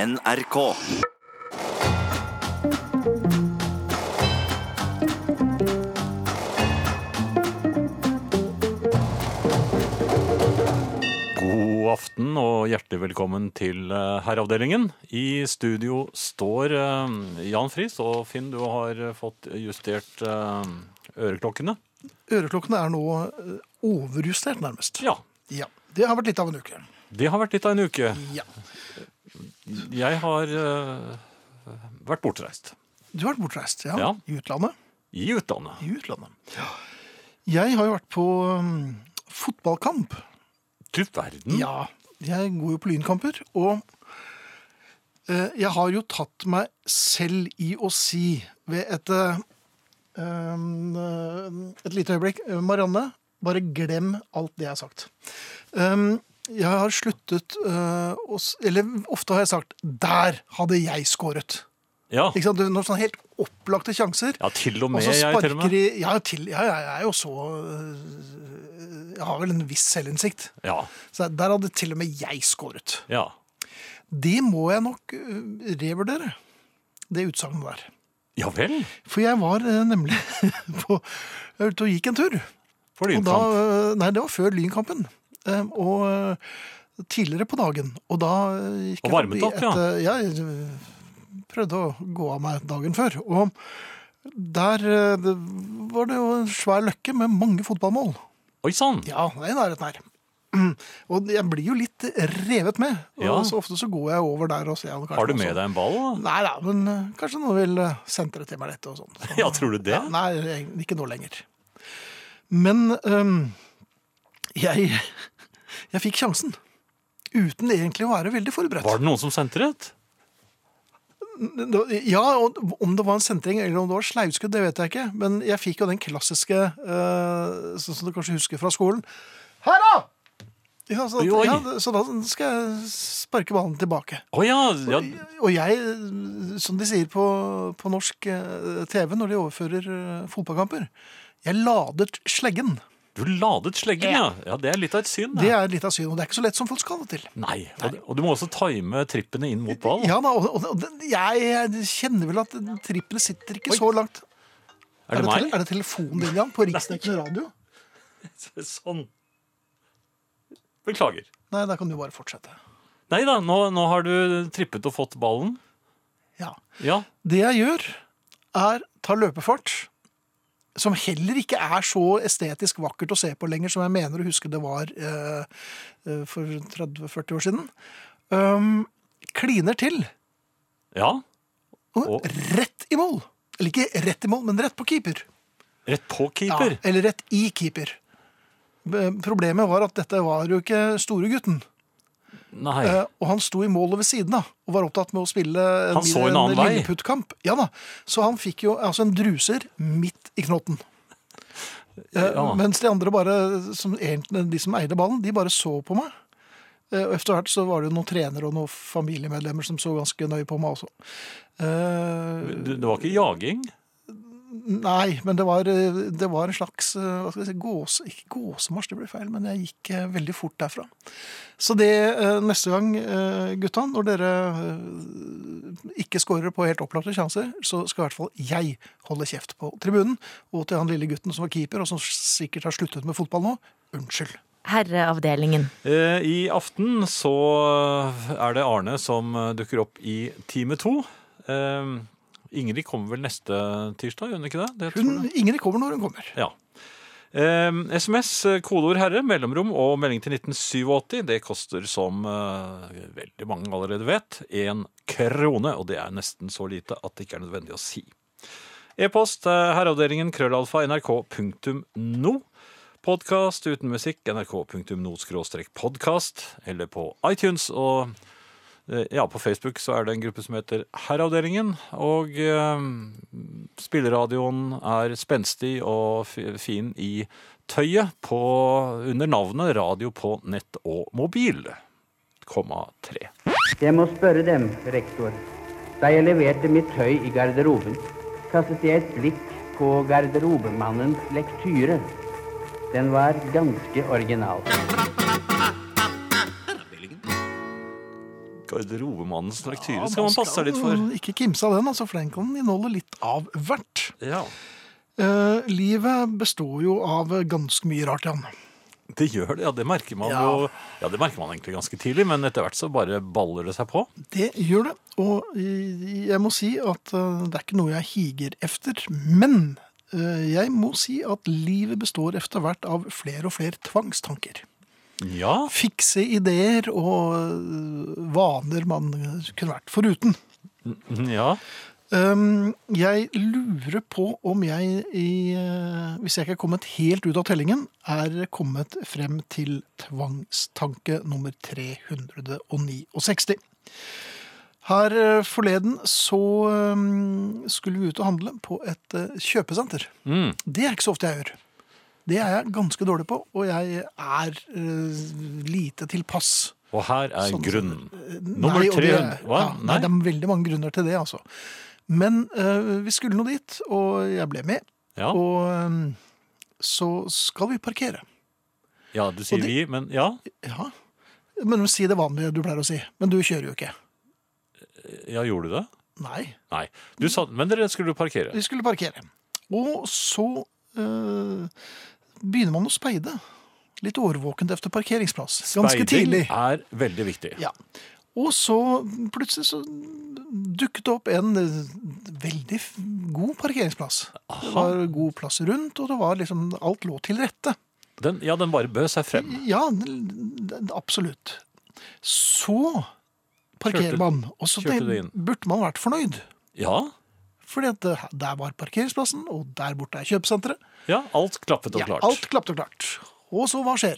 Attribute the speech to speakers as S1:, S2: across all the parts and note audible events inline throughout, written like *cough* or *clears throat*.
S1: NRK.
S2: God aften og hjertelig velkommen til eh, Herreavdelingen. I studio står eh, Jan Friis, og Finn, du har eh, fått justert eh, øreklokkene.
S3: Øreklokkene er nå eh, overjustert, nærmest.
S2: Ja,
S3: Ja, Det har vært litt av en uke.
S2: det har vært litt av en uke.
S3: Ja.
S2: Jeg har eh, vært bortreist.
S3: Du har vært bortreist, ja.
S2: Ja.
S3: I utlandet.
S2: I utlandet.
S3: I utlandet. Jeg har jo vært på mm, fotballkamp.
S2: Du verden.
S3: Ja. Jeg går jo på lynkamper, og eh, jeg har jo tatt meg selv i å si ved et eh, um, eh, et lite øyeblikk eh, Marianne, bare glem alt det jeg har sagt. Um, jeg har sluttet eh, å s- Eller ofte har jeg sagt 'der hadde jeg skåret'.
S2: Ja.
S3: Ikke sant? Det er Når sånne helt opplagte sjanser
S2: ja, til og
S3: og
S2: med
S3: så
S2: jeg, til og
S3: sparker
S2: med.
S3: de ja, til, ja, jeg er jo så øh, Jeg har vel en viss selvinnsikt.
S2: Ja,
S3: Så der hadde til og med jeg skåret.
S2: ja.
S3: Det må jeg nok øh, revurdere, det utsagnet der.
S2: Ja vel,
S3: For jeg var øh, nemlig *laughs* på Jeg var ute og gikk en tur.
S2: for
S3: Og da,
S2: lynkamp.
S3: øh, nei, det var før Lynkampen. Eh, Og øh, tidligere på dagen. Og da øh, gikk
S2: Og varmet opp, ja.
S3: øh, ja. Jeg øh, prøvde å gå av meg dagen før. Og der øh, det var det jo en svær løkke med mange fotballmål.
S2: Oi sann.
S3: Ja, det er i nærheten her. *clears throat* Og jeg blir jo litt revet med. Og
S2: Ja.
S3: så ofte så går jeg over der og ser. om kanskje
S2: Har du
S3: noe
S2: med
S3: sånt.
S2: deg en ball? da?
S3: altså. Nei da, men øh, kanskje noen vil øh, sentre til meg litt og sånn. Så-
S2: *laughs* Ja, tror du det?
S3: ja, nei, jeg- ikke nå lenger. Men øhm, jeg, *laughs* jeg fikk sjansen. Uten egentlig å være veldig forberedt.
S2: Var det noen som sentret?
S3: Det- Ja, og Om det var en sentring eller om det var sleivskudd, det vet jeg ikke. Men jeg fikk jo den klassiske, øh, sånn som du kanskje husker fra skolen Her, da! Ja, så,
S2: Oi, oi.
S3: ja, så da skal jeg sparke ballen tilbake.
S2: Å ja, ja.
S3: Og jeg, som de sier på, på norsk eh, TV når de overfører eh, fotballkamper, jeg ladet sleggen.
S2: Du ladet sleggen, ja. ja. Det er litt av et syn.
S3: Det er litt av synet, og det er ikke så lett som folk skal det til.
S2: Nei, og, og du må også time trippene inn mot ball.
S3: Ja da, og, og, og den- jeg, jeg kjenner vel at trippene sitter ikke
S2: Oi.
S3: så langt.
S2: er det
S3: tele-
S2: meg?
S3: er det telefonen din, Jan, på riksdekkende radio?
S2: Sånn. Beklager.
S3: Nei, da kan du bare fortsette.
S2: Nei da, nå, nå har du trippet og fått ballen.
S3: Ja.
S2: Ja,
S3: Det jeg gjør, er ta løpefart, som heller ikke er så estetisk vakkert å se på lenger, som jeg mener å huske det var eh, eh, for 30-40 år siden. Um, kliner til,
S2: ja.
S3: og
S2: Og-
S3: rett i mål. Eller ikke rett i mål, men rett på keeper.
S2: Rett på keeper.
S3: Ja, eller rett i keeper. B- Problemet var at dette var jo ikke storegutten.
S2: Nei.
S3: Eh, Og han sto i målet ved siden av og var opptatt med å spille
S2: Han så en annen vei.
S3: lilleputtkamp. Ja da, Så han fikk jo altså en druser midt i knotten. Eh,
S2: Ja.
S3: Mens de andre, bare, som egentlig, de som eide ballen, de bare så på meg. Eh, Og etter hvert så var det jo noen trenere og noen familiemedlemmer som så ganske nøye på meg også. Eh,
S2: Du, det var ikke jaging?
S3: nei, men det var, eh, det var en slags eh, hva skal jeg si, gåse, Ikke gåsemarsj, det ble feil, men jeg gikk eh, veldig fort derfra. Så det eh, neste gang, eh, gutta, når dere eh, ikke scorer på helt opplagte sjanser, så skal i hvert fall jeg holde kjeft på tribunen. Og til han lille gutten som var keeper, og som sikkert har sluttet med fotball nå, unnskyld.
S4: Herreavdelingen.
S2: Eh, I aften så er det Arne som dukker opp i time to. Eh, Ingrid kommer vel neste tirsdag, gjør hun ikke det? det tror jeg.
S3: Hun, Ingrid kommer når hun kommer.
S2: Ja. Ehm, SMS, eh, kodeord herre, mellomrom og melding til 1987. Det koster som eh, veldig mange allerede vet, én krone. Og det er nesten så lite at det ikke er nødvendig å si. E-post eh, herreavdelingen krøllalfa nrk.no. Podkast uten musikk nrk.no-podkast, eller på iTunes. og eh, ja, På Facebook så er det en gruppe som heter Herreavdelingen. Og eh, Spilleradioen er spenstig og fi- fin i tøyet på, under navnet Radio på nett og mobil, komma tre.
S5: Jeg må spørre Dem, rektor. Da jeg leverte mitt tøy i garderoben, kastet jeg et blikk på garderobemannens lektyre. Den var ganske original.
S2: Garderobemannens lektyre
S3: Ja,
S2: skal man passe seg litt for.
S3: Ikke kimse av den, altså, for den kan inneholde litt av hvert.
S2: Ja,
S3: Eh, livet består jo av ganske mye rart, Jan.
S2: Det gjør det, ja. Det merker man
S3: Ja.
S2: jo Ja, det merker man egentlig ganske tidlig, men etter hvert så bare baller det seg på.
S3: Det gjør det, og eh, jeg må si at eh, det er ikke noe jeg higer efter, men eh, jeg må si at livet består etter hvert av flere og flere tvangstanker.
S2: Ja,
S3: Fikse ideer og eh, vaner man kunne vært foruten.
S2: ja.
S3: Um, jeg lurer på om jeg, i, eh, hvis jeg ikke er kommet helt ut av tellingen, er kommet frem til tvangstanke nummer 369. Her eh, forleden så um, skulle vi ut og handle på et eh, kjøpesenter.
S2: Mm.
S3: Det er ikke så ofte jeg gjør. Det er jeg ganske dårlig på, og jeg er eh, lite tilpass.
S2: Og her er
S3: Sånn som-
S2: grunnen.
S3: Eh,
S2: Nummer
S3: nei, og det-
S2: 300. Hva?
S3: Ja, nei.
S2: Nei?
S3: det er veldig mange grunner til det, altså. Men eh, vi skulle nå dit, og jeg ble med.
S2: Ja,
S3: Og eh, så skal vi parkere.
S2: ja du sier
S3: og det-
S2: vi, men ja.
S3: Ja. Men si det vanlige du pleier å si. Men du kjører jo ikke.
S2: Ja, gjorde du det?
S3: Nei.
S2: Nei. Du sa, men dere skulle parkere.
S3: Vi skulle parkere. Og så eh, begynner man å speide. Litt årvåkent efter parkeringsplass. Ganske tidlig.
S2: Speiding er veldig viktig.
S3: Ja. Og så plutselig så dukket det opp en eh, veldig f- god parkeringsplass. Det var god plass rundt, og det var liksom alt lå til rette.
S2: Den, ja, den bare bød seg frem.
S3: Ja, n- n- absolutt. Så parkerer
S2: Kjørte-
S3: man, og så
S2: kjørte
S3: tenk-
S2: du inn.
S3: burde man vært fornøyd.
S2: Ja,
S3: Fordi at det- der var parkeringsplassen, og der borte er kjøpesenteret.
S2: ja alt klappet og
S3: Ja,
S2: klart.
S3: alt klappet og klart. Og så hva skjer?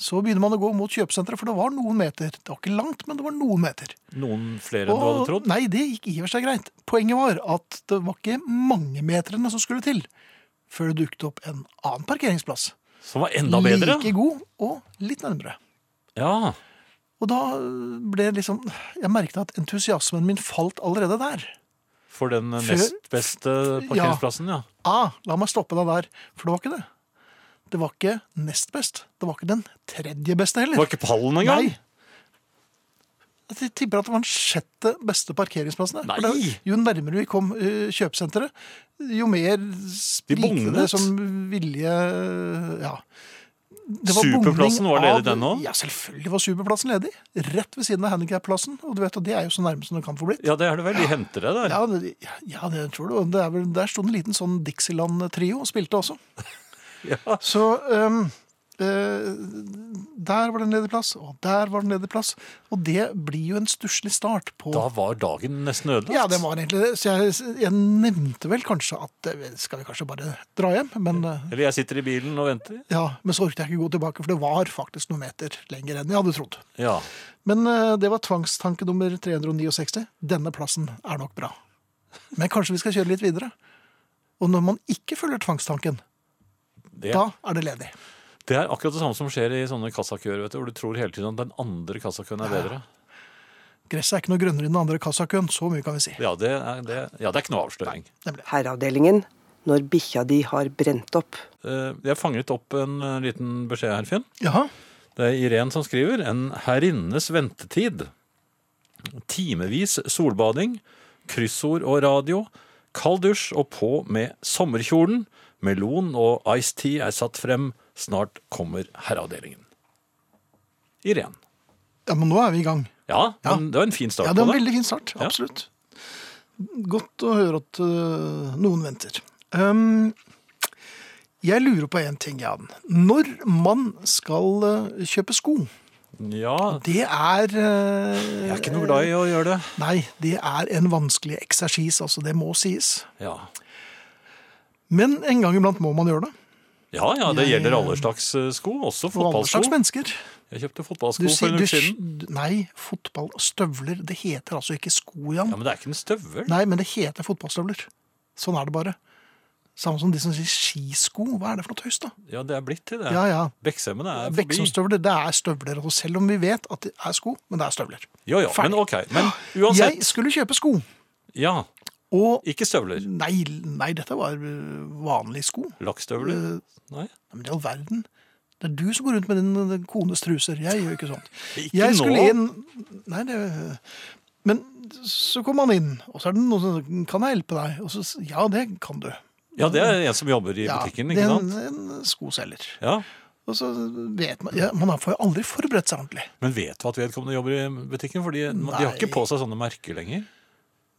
S3: Så begynner man å gå mot kjøpesenteret, for det var noen meter. Det var ikke langt, men det var noen meter.
S2: Noen flere enn du
S3: Og-
S2: hadde trodd?
S3: Nei, det gikk i og for seg greit. Poenget var at det var ikke mange metrene som skulle til før det dukket opp en annen parkeringsplass.
S2: Som var enda bedre?
S3: Like god og litt nærmere.
S2: Ja.
S3: Og da ble det liksom Jeg merket at entusiasmen min falt allerede der.
S2: For den
S3: Før-
S2: nest beste parkeringsplassen, ja.
S3: Ah, la meg stoppe deg der, for det var ikke det. Det var ikke nest best. Det var ikke den tredje beste
S2: Det
S3: heller.
S2: var ikke pallen engang?
S3: Nei. Jeg tipper at det var den sjette beste parkeringsplassen. der.
S2: Nei.
S3: For det- Jo nærmere vi kom eh, kjøpesenteret, jo mer sprikte
S2: bugnet.
S3: det som vilje Ja. Det
S2: Superplassen
S3: bugning
S2: var ledig
S3: av-
S2: den også?
S3: Ja, selvfølgelig var superplassen ledig. Rett ved siden av handikapplassen. Og du vet, at det er jo så nærme som det kan få blitt.
S2: Ja, det er det vel. De henter deg der.
S3: Ja, det, ja, det tror du. Og Det er vel, der sto en liten sånn Dixieland-trio og spilte også.
S2: *laughs* Ja.
S3: Så øhm, øh, der var det en ledig plass, og der var det en ledig plass. Og det blir jo en stusslig start på
S2: Da var dagen nesten ødelagt.
S3: Ja, det var egentlig det. Så jeg, jeg nevnte vel kanskje at øh, skal vi kanskje bare dra hjem? Men, øh,
S2: Eller jeg sitter i bilen og venter.
S3: ja, men så orket jeg ikke gå tilbake, for det var faktisk noen meter lenger enn jeg hadde trodd.
S2: Ja.
S3: Men øh, det var tvangstanke nummer 369. Denne plassen er nok bra. Men kanskje vi skal kjøre litt videre. Og når man ikke følger tvangstanken,
S2: Det,
S3: da er det ledig.
S2: det er akkurat det samme som skjer i sånne kassakøer, vet du, hvor du tror hele tiden at den andre kassakøen er bedre.
S3: Gresset er ikke noe grønnere enn den andre kassakøen, så mye kan vi si.
S2: Ja, det er, det, ja, det er ikke noe avsløring.
S3: Nemlig.
S1: Herreavdelingen når bikkja di har brent opp.
S2: Eh, Jeg fanget opp en eh, liten beskjed her, Finn.
S3: Jaha.
S2: Det er Irén som skriver. En herrinnes ventetid. Timevis solbading, kryssord og radio, kald dusj og på med sommerkjolen. Melon og Ice Tea er satt frem. Snart kommer herreavdelingen. Irén.
S3: Ja, men nå er vi i gang.
S2: Ja,
S3: Ja.
S2: men det var en fin start
S3: Ja, det var
S2: på
S3: en
S2: det.
S3: veldig fin start. Absolutt. Godt å høre at øh, noen venter. Ehm, jeg lurer på en ting, Jan. Når man skal øh, kjøpe sko,
S2: Ja,
S3: det er eh,
S2: jeg er ikke noe glad i å gjøre det.
S3: Nei, det er en vanskelig eksersis, altså. Det må sies.
S2: Ja,
S3: Men en gang iblant må man gjøre det.
S2: ja, ja det
S3: Jeg-
S2: gjelder alle slags eh, sko, også
S3: For alle slags
S2: fotballsko.
S3: mennesker.
S2: Jeg kjøpte
S3: Du
S2: fotballsko
S3: sier-
S2: for en
S3: du
S2: uke siden.
S3: sk- Nei, fotballstøvler. Det heter altså ikke sko, Jan.
S2: Ja, Men det er ikke en støvel.
S3: Nei, men det heter fotballstøvler. Sånn er det bare. Samme som de som sier skisko. Hva er det for noe tøys, da?
S2: Ja, det er blitt til det.
S3: Ja, ja.
S2: Bekkstemmene er forbi.
S3: Veksomstøvler, det er støvler. Og selv om vi vet at det er sko, men det er støvler.
S2: Jo, jo,
S3: Ferdig.
S2: men ok. Men uansett,
S3: Jeg skulle kjøpe sko,
S2: ja,
S3: og
S2: ikke støvler.
S3: Nei, nei dette var øh, vanlige sko.
S2: Lakkstøvler? Nei.
S3: Men i all verden. Det er du som går rundt med din din kones truser. Jeg gjør ikke sånt.
S2: *laughs* Ikke nå.
S3: jeg skulle inn Nei, det Men så kom han inn, og så er det noen som sier, Kan jeg hjelpe deg? Og så s- Ja, det kan du.
S2: Ja, det er en som jobber i butikken,
S3: det
S2: ikke
S3: er
S2: sant?
S3: en, en skoselger.
S2: Ja,
S3: Og så vet man ja, Man får jo aldri forberedt seg ordentlig.
S2: Men vet du at vedkommende jobber i butikken? Fordi de har
S3: Nei.
S2: ikke på seg sånne merker lenger.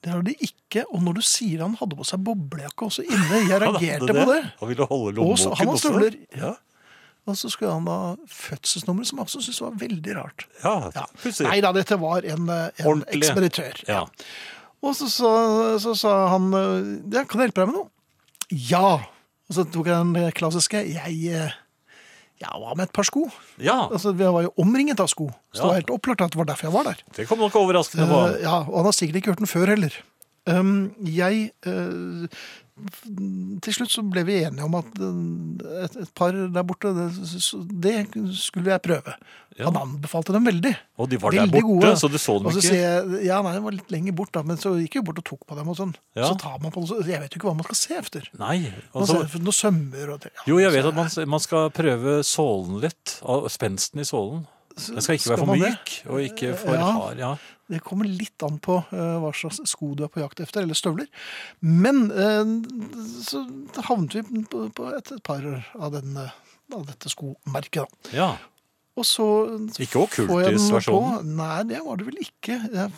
S3: Det har de ikke. Og når du sier han hadde på seg boblejakke også inne, jeg
S2: *laughs* Han
S3: reagerte
S2: hadde
S3: på det.
S2: Han ville holde
S3: Og så
S2: lommeboken
S3: han har
S2: også.
S3: støvler.
S2: Ja,
S3: Og så skulle han ha fødselsnummeret, som jeg også syntes var veldig rart.
S2: ja.
S3: Ja.
S2: pussig.
S3: Nei da, dette var en, eh, en
S2: Ordentlig.
S3: ekspeditør.
S2: Ja.
S3: Og så, så, så sa han eh, ja, 'Kan jeg hjelpe deg med noe?' 'Ja.' Og så tok jeg den klassiske 'Jeg eh, ja, hva med et par sko?'
S2: ja,
S3: Altså, Vi var jo omringet av sko, så det
S2: Ja.
S3: var helt opplagt at det var derfor jeg var der.
S2: det kom nok overraskende på ham.
S3: Eh, ja, og han har sikkert ikke hørt den før heller. Um, jeg eh, f- Til slutt så ble vi enige om at eh, et, et par der borte, det, s- det skulle jeg prøve.
S2: Ja.
S3: Han anbefalte dem veldig.
S2: Og de var der
S3: Veldig
S2: borte,
S3: gode.
S2: så du så dem
S3: og så
S2: ikke?
S3: sier jeg, ja, nei, det var litt lenger bort, da, men så gikk jeg jo bort og tok på dem. og sånn.
S2: Ja.
S3: Så tar man på dem, så jeg vet jo ikke hva man skal se efter.
S2: Nei.
S3: Man
S2: Altså,
S3: ser efter noe sømmer og det. Ja,
S2: jo, jeg vet
S3: så-
S2: at man, man skal prøve sålen litt. av Spensten i sålen. Den skal ikke
S3: skal
S2: være for
S3: man det?
S2: myk og ikke for
S3: Ja.
S2: hard. Ja.
S3: Det kommer litt an på eh, hva slags sko du er på jakt efter, eller støvler. Men eh, så havnet vi på, på et, et par av, den, eh, av dette skomerket, da.
S2: ja.
S3: Og så
S2: Ikke
S3: får jeg den på-
S2: okkultis-versjonen?
S3: Nei, det var det vel ikke. Jeg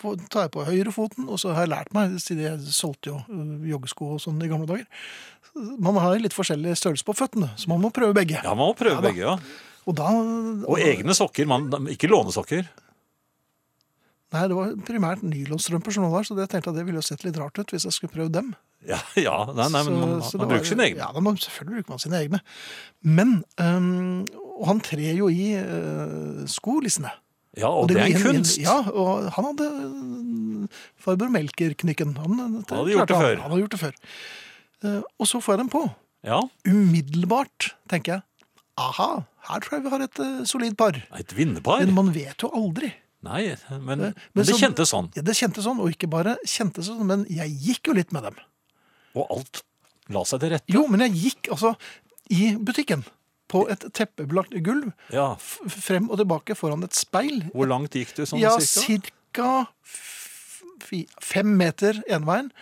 S3: får, tar jeg på høyrefoten, og så har jeg lært meg, siden jeg solgte jo eh, joggesko og sånn i gamle dager. Man har jo litt forskjellig størrelse på føttene, så man må prøve begge.
S2: Ja, man må prøve
S3: Ja da.
S2: begge. ja.
S3: Og da
S2: Og egne sokker. Man, ikke lånesokker.
S3: Nei, det var primært nylonstrømper som lå der, så det tenkte jeg det ville jo sett litt rart ut hvis jeg skulle prøvd dem.
S2: Ja, *laughs* ja. Nei, nei, men man,
S3: Så- så det
S2: man
S3: var-
S2: bruker sine egne.
S3: Ja, da må, selvfølgelig bruker man sine egne. Men øhm, Og han trer jo i øh, skolissene.
S2: Ja, og det er en
S3: blir
S2: kunst.
S3: ja, og han hadde øh, farbror Melker-knykken. Han, øh,
S2: hadde gjort det
S3: klarte
S2: før.
S3: Han, han hadde gjort det før. Eh, og så får jeg dem på.
S2: Ja.
S3: Umiddelbart tenker jeg aha, her tror jeg vi har et øh, solid par.
S2: Et vinnerpar?
S3: Men man vet jo aldri.
S2: Nei, men,
S3: Eh,
S2: men,
S3: men
S2: det
S3: så-
S2: kjentes sånn.
S3: Ja, det kjentes sånn, og ikke bare kjentes sånn, men jeg gikk jo litt med dem.
S2: Og alt la seg til rette.
S3: Jo, men jeg gikk altså i butikken på et teppebelagt gulv,
S2: Ja.
S3: f- frem og tilbake foran et speil.
S2: Hvor langt gikk du sånn
S3: ja,
S2: cirka?
S3: cirka f- fi- fem meter enveien,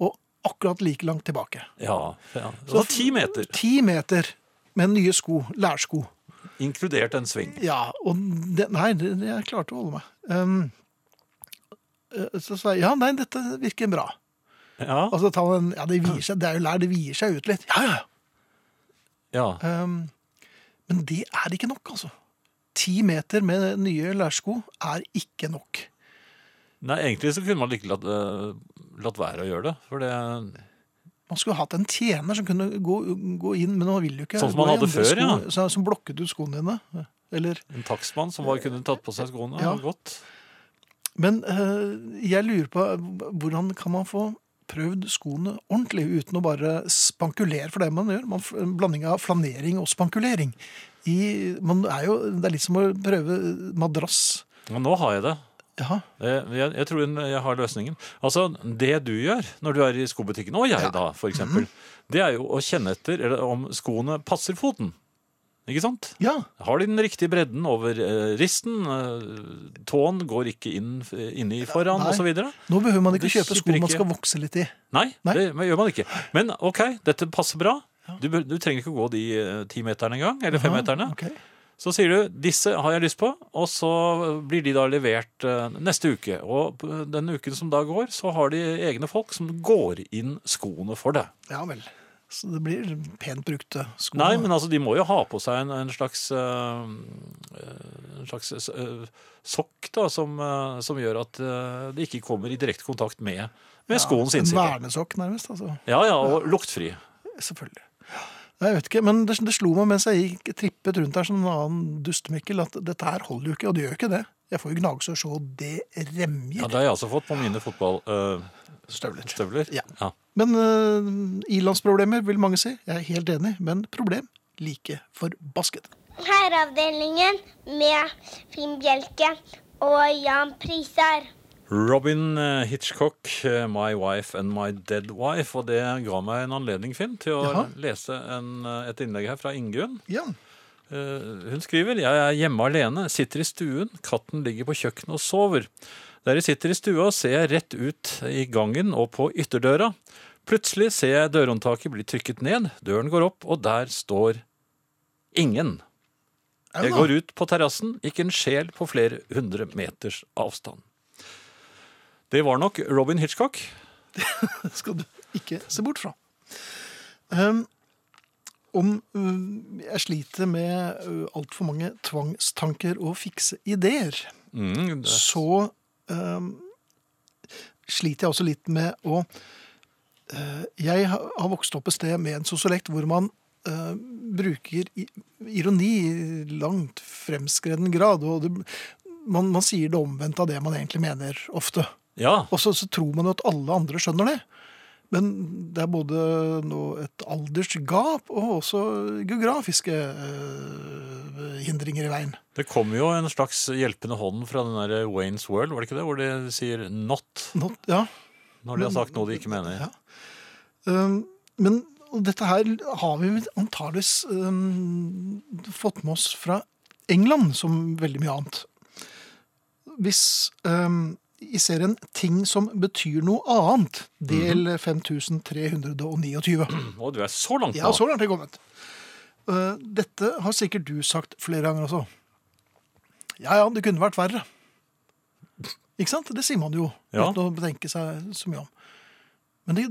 S3: og akkurat like langt tilbake.
S2: Ja. ja. Så
S3: Så-
S2: ti meter,
S3: Ti meter med nye sko, lærsko.
S2: inkludert en sving.
S3: Ja, og det, nei, det, det- jeg klarte å holde meg. Um, eh, så sa jeg, ja, nei, dette virker bra.
S2: Ja.
S3: Og så tar man, ja, det vier seg, det er jo lær, det vier seg ut litt. Ja, ja, ja.
S2: ja.
S3: Um, men det er ikke nok, altså. Ti meter med nye lærsko er ikke nok.
S2: Nei, egentlig så kunne man like latt, eh, latt være å gjøre det. For det
S3: Man skulle hatt en tjener som kunne gå, gå inn, men man vil jo ikke
S2: Sånn som
S3: gå
S2: man
S3: i
S2: hadde
S3: andre
S2: før,
S3: sko, så- Som blokket ut skoene dine. Eller,
S2: en takstmann som bare kunne tatt på seg skoene,
S3: Ja.
S2: ja. gått.
S3: men eh, jeg lurer på eh, hvordan kan man få prøvd skoene ordentlig uten å bare spankulere for det man gjør? Man, en blanding av flanering og spankulering. I, man er jo, det er litt som å prøve madrass.
S2: Men nå har jeg det.
S3: Ja,
S2: Eh, Jeg, jeg tror en- jeg har løsningen. Altså, Det du gjør når du er i skobutikken, og jeg da, for eksempel,
S3: Mhm.
S2: det er jo å kjenne etter eller, om skoene passer foten. Ikke sant?
S3: ja.
S2: Har de den riktige bredden over eh, risten? eh, tåen går ikke inn eh, inni foran,
S3: Nei.
S2: osv.?
S3: Nå behøver man ikke
S2: Det
S3: kjøpe sko
S2: kipper
S3: man
S2: ikke.
S3: skal vokse litt i.
S2: Nei,
S3: Nei.
S2: det men gjør man ikke. Men OK, dette passer bra. Du, bør- du trenger ikke å gå de eh, ti meterne engang, eller femmeterne.
S3: Ok.
S2: Så sier du 'disse har jeg lyst på', og så blir de da levert eh, neste uke. Og p- den uken som da går, så har de egne folk som går inn skoene for deg.
S3: Ja vel. Så det blir pent brukte sko.
S2: Nei, men altså, de må jo ha på seg en, en slags eh, eh, En slags eh, sokk, da, som, eh, som gjør at eh, de ikke kommer i direkte kontakt med, med skoens
S3: En
S2: innside.
S3: vernesokk, nærmest. altså.
S2: Ja, ja, og luktfri.
S3: Selvfølgelig. Jeg vet ikke, men det, det slo meg mens jeg gikk trippet rundt her som en annen dustemikkel, at dette her holder jo ikke, og det gjør jo ikke det. Jeg får jo gnagsår så det remjer.
S2: Ja, Det har jeg også fått på mine fotballstøvler. støvler.
S3: Ja.
S2: Ja.
S3: Men uh, ilandsproblemer, vil mange si. Jeg er helt enig, men problem like forbasket.
S4: Herreavdelingen med Finn Bjelke og Jan Prisar.
S2: Robin eh, Hitchcock, eh, 'My Wife and My Dead Wife'. Og det ga meg en anledning, Finn, til å
S3: Jaha.
S2: lese en, eh, et innlegg her fra Ingunn.
S3: Ja.
S2: Eh, Hun skriver Jeg er hjemme alene, sitter i stuen, katten ligger på kjøkkenet og sover. Der jeg sitter i stua, ser jeg rett ut i gangen og på ytterdøra. Plutselig ser jeg dørhåndtaket bli trykket ned, døren går opp, og der står ingen. Jeg går ut på terrassen, ikke en sjel på flere hundre meters avstand. Det var nok Robin Hitchcock.
S3: skal du ikke se bort fra. Um, om um, jeg sliter med uh, altfor mange tvangstanker og fikse ideer,
S2: Mm, det-
S3: så um, sliter jeg også litt med å uh, Jeg ha- har vokst opp et sted med en sosiolekt hvor man uh, bruker i- ironi i langt fremskreden grad. og det, man, man sier det omvendte av det man egentlig mener, ofte.
S2: ja,
S3: Og så, så tror man jo at alle andre skjønner det. Men det er både nå et aldersgap og også geografiske eh, hindringer i veien.
S2: det kom jo en slags hjelpende hånd fra den der Wayne's World, var det ikke det? Hvor de sier 'not'
S3: Nå, ja.
S2: når de har sagt noe de ikke mener.
S3: Ja. Um, men og dette her har vi antageligvis um, fått med oss fra England, som veldig mye annet. Hvis um, i serien 'Ting som betyr noe annet', del 5329
S2: Å, du er så langt
S3: Ja,
S2: nå!
S3: så langt har jeg kommet. Eh, Dette har sikkert du sagt flere ganger også. Ja, ja, det kunne vært verre. Ikke sant? Det sier man jo,
S2: Ja.
S3: uten å betenke seg så mye om. Men det,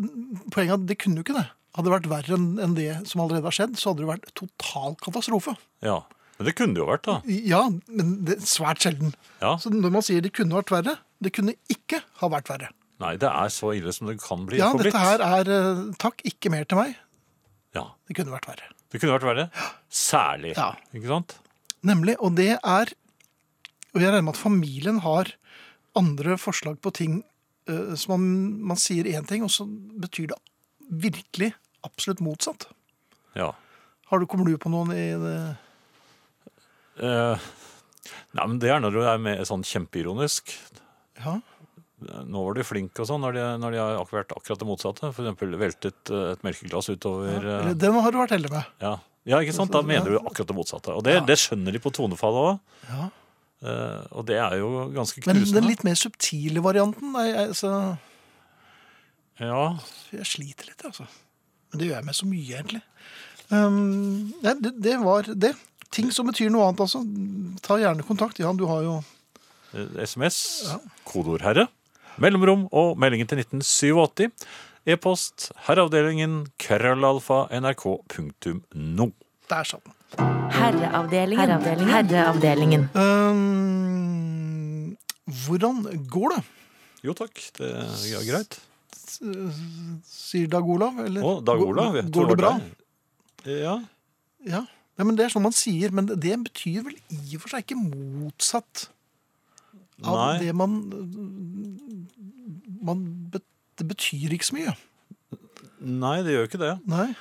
S3: poenget er at det kunne jo ikke det. Hadde det vært verre enn- enn det som allerede har skjedd, så hadde det vært total katastrofe.
S2: Ja. Men det kunne det jo vært, da.
S3: Ja, men det er svært sjelden.
S2: Ja.
S3: Så når man sier det kunne vært verre, det kunne ikke ha vært verre.
S2: Nei, det er så ille som det kan bli.
S3: Ja,
S2: forblitt.
S3: dette her er eh, takk, ikke mer til meg.
S2: Ja,
S3: Det kunne vært verre.
S2: Det kunne vært verre. Særlig.
S3: Ja.
S2: Ikke sant?
S3: Nemlig, og det er Og jeg regner med at familien har andre forslag på ting eh, som man, man sier én ting, og så betyr det virkelig absolutt motsatt.
S2: Ja.
S3: Har du, kommer du på noen i det?
S2: Eh, nei, men det er når du er med, sånn kjempeironisk.
S3: Ja.
S2: Nå var de flinke og sånn, når de, når de har ak- vært akkurat det motsatte. For eksempel veltet eh, et melkeglass utover eh,
S3: Eller, den har du vært heldig med.
S2: ja. ja, ikke sant? Da mener du akkurat det motsatte. Og det, det skjønner de på tonefallet òg.
S3: Ja.
S2: og det er jo ganske
S3: Men
S2: knusende.
S3: den litt mer subtile varianten nei, jeg, så
S2: Ja,
S3: jeg sliter litt, altså. Men det gjør jeg med så mye, egentlig. Um, nei, det, det var det. Ting som betyr noe annet, altså. Ta gjerne kontakt. Ja, du har jo
S2: eh, SMS, kodeord 'herre', mellomrom og meldingen til 1987. E-post herreavdelingen krøllalfa nrk.no.
S3: Der satt den.
S6: Herreavdelingen. Herreavdelingen. Herreavdelingen.
S3: Øhm, Ehm, hvordan går det?
S2: Jo takk, det er greit.
S3: Sier Dag Olav. Eller?
S2: Å, Dag Olav. jeg
S3: Går,
S2: tror
S3: går det bra?
S2: var deg. Ja.
S3: Ja. Nei, men det er sånn man sier, men det betyr vel i og for seg ikke motsatt av
S2: Nei.
S3: det man, man be- Det betyr ikke så mye.
S2: Nei, det gjør jo ikke det.
S3: Nei.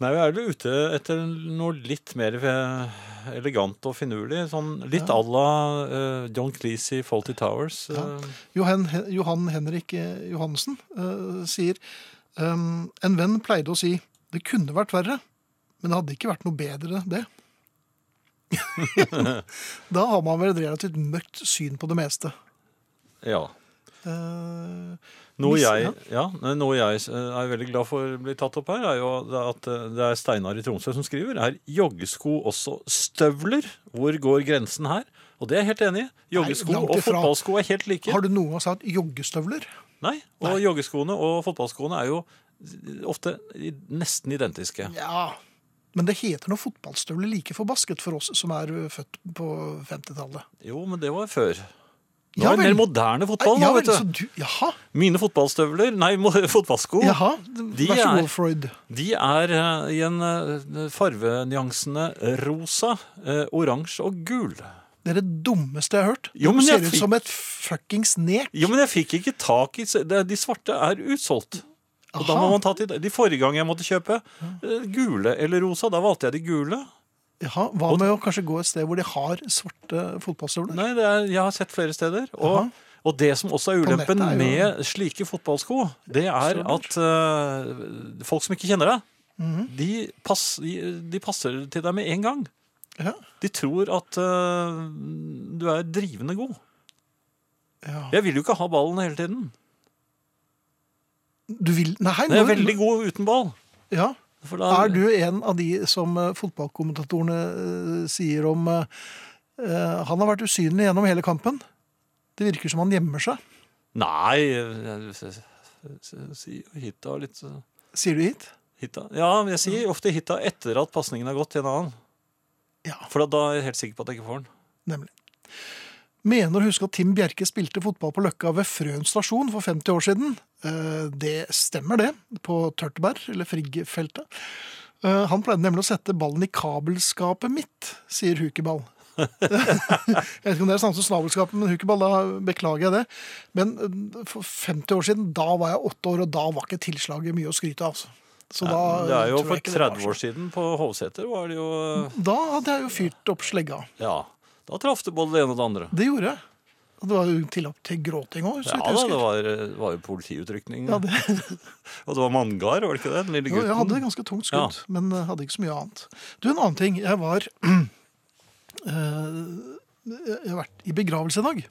S2: Nei, Vi er vel ute etter noe litt mer eh, elegant og finurlig. Sånn litt à la eh, John Cleese i Faulty Towers. eh.
S3: Ja. Johan, Johan Henrik eh, Johansen eh, sier øhm, En venn pleide å si 'det kunne vært verre', men det hadde ikke vært noe bedre,
S2: *laughs*
S3: det. da har man vel et relativt mørkt syn på det meste.
S2: ja.
S3: Eh,
S2: Noe
S3: Hvis-
S2: jeg, ja, noe jeg eh, er veldig glad for blir tatt opp her, er jo at eh, det er Steinar i Tromsø som skriver. Er joggesko også støvler? Hvor går grensen her? Og det er jeg helt enig i. Joggesko
S3: langt
S2: og
S3: ifra.
S2: fotballsko er helt like.
S3: har du noen gang sagt joggestøvler?
S2: Nei, og joggeskoene og fotballskoene er jo ofte i- nesten identiske.
S3: Ja. Men det heter nå fotballstøvler like forbasket for oss som er ø, født på 50-tallet.
S2: Jo, men det var før. Nå
S3: Ja
S2: er det mer
S3: vel.
S2: moderne fotball nå,
S3: Ja vel,
S2: Sånn vet
S3: så
S2: du.
S3: du- Jaha.
S2: Mine fotballstøvler, nei, mo- *laughs* fotballsko,
S3: jaha.
S2: De
S3: Vær så
S2: er-
S3: god, Freud.
S2: de er eh, i en eh, farvenyansene rosa, eh, oransje og gul.
S3: Det er det dummeste jeg har hørt.
S2: Jo, men
S3: det
S2: jeg
S3: ser ut
S2: fikk-
S3: som et fuckings nek.
S2: Jo, men jeg fikk ikke tak i se- det- De svarte er utsolgt. Og da
S3: Aha.
S2: må man ta til det. De forrige gang jeg måtte kjøpe eh, gule eller rosa, da valgte jeg de gule.
S3: Jaha, hva med å kanskje gå et sted hvor de har svarte fotballstøvler?
S2: Nei, det er, jeg har sett flere steder. Og, og det som også er
S3: På nettet
S2: ulempen
S3: er jo-
S2: med slike fotballsko, det er at
S3: Mhm.
S2: eh, folk som ikke kjenner deg, de, pass, de, de passer til deg med en gang.
S3: Ja.
S2: De tror at eh, du er drivende god.
S3: Ja.
S2: Jeg vil jo ikke ha ballen hele tiden.
S3: Du vil Nei,
S2: Men jeg er
S3: nå-
S2: veldig god uten ball.
S3: Ja.
S2: For da,
S3: Er du en av de som eh, fotballkommentatorene eh, sier om eh, eh, Han har vært usynlig gjennom hele kampen. Det virker som han gjemmer seg.
S2: Nei jeg- s- s- s- Si hitta litt så-
S3: Sier du hit?
S2: hitta. Ja, men jeg sier ofte hitta etter at pasningen har gått til en annen.
S3: Ja,
S2: For da er jeg helt sikker på at jeg ikke får den.
S3: nemlig. Mener å huske at Tim Bjerke spilte fotball på Løkka ved Frøen stasjon for 50 år siden. Eh, Det stemmer, det. På Tørteberg, eller Frigg-feltet. Eh, Han pleide nemlig å sette ballen i kabelskapet mitt,
S2: *laughs*
S3: sier Hukeball. Jeg vet ikke om det er samme som snabelskapet, men hukeball, da beklager jeg det. Men eh, for 50 år siden, da var jeg åtte år, og da var ikke tilslaget mye å skryte av. altså. Så da
S2: det er jo
S3: tror jeg
S2: for
S3: ikke det Mm. var
S2: 30 år siden på Hovseter var det jo eh,
S3: så- Da hadde jeg jo fyrt opp slegga.
S2: Ja. Da traff det både det ene og det andre.
S3: Det gjorde jeg. Og det var jo tillatt til gråting òg,
S2: Ja
S3: så vidt
S2: da,
S3: jeg
S2: det
S3: husker.
S2: var, eh, var jo politiutrykning.
S3: Ja, det,
S2: Og det var manngard, var det ikke det? Den lille
S3: jo,
S2: gutten.
S3: *laughs* jeg hadde et ganske tungt skudd, men eh, hadde ikke så mye annet. Du, en annen ting. Jeg var *clears throat* eh, Jeg har vært i begravelse i dag.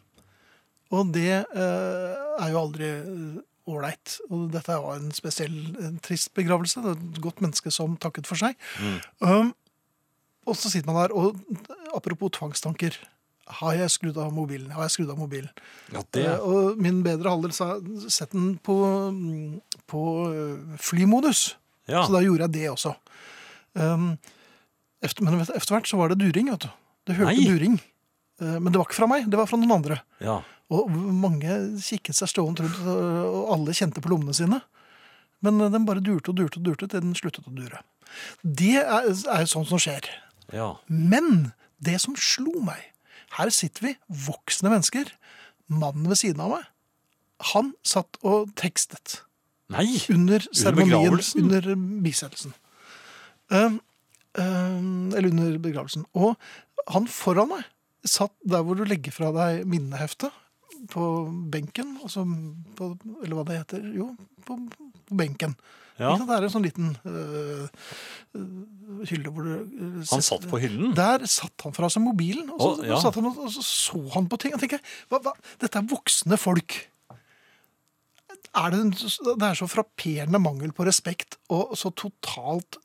S3: Og det eh, er jo aldri eh, ålreit. Og dette var en spesiell, en trist begravelse. Det var et godt menneske som takket for seg.
S2: Mm.
S3: Um, og så sitter man der, og apropos tvangstanker. Har jeg skrudd av mobilen? Har jeg skrudd av mobilen?
S2: Ja, det.
S3: Eh, Og min bedre halvdel sa sett den på, mm, på eh, flymodus.
S2: Ja.
S3: Så da gjorde jeg det også. Um, efter, men vet- efter hvert så var det during, vet du. Det hørte
S2: Nei.
S3: during. Eh, Men det var ikke fra meg, det var fra noen andre.
S2: ja.
S3: Og mange kikket seg stående rundt, eh, og alle kjente på lommene sine. Men eh, den bare durte og durte og durte til den sluttet å dure. Det er, er jo sånt som skjer.
S2: ja.
S3: Men det som slo meg Her sitter vi, voksne mennesker. Mannen ved siden av meg, han satt og tekstet
S2: Nei!
S3: under seremonien.
S2: begravelsen?
S3: Under bisettelsen. Um, um, eller under begravelsen. Og han foran meg satt der hvor du legger fra deg minneheftet. På benken, altså på, Eller hva det heter. Jo, på, på benken.
S2: Ja.
S3: Ikke sant? Det er en sånn liten øh, øh, hylle hvor du øh,
S2: Han
S3: setter-
S2: satt på hyllen.
S3: Der satt han fra seg mobilen, og så,
S2: Mm. Å, ja.
S3: satt han, og og så, så han på ting. Og tenker, jeg, hva, hva? Dette er voksne folk er det, en- det er så frapperende mangel på respekt, og så totalt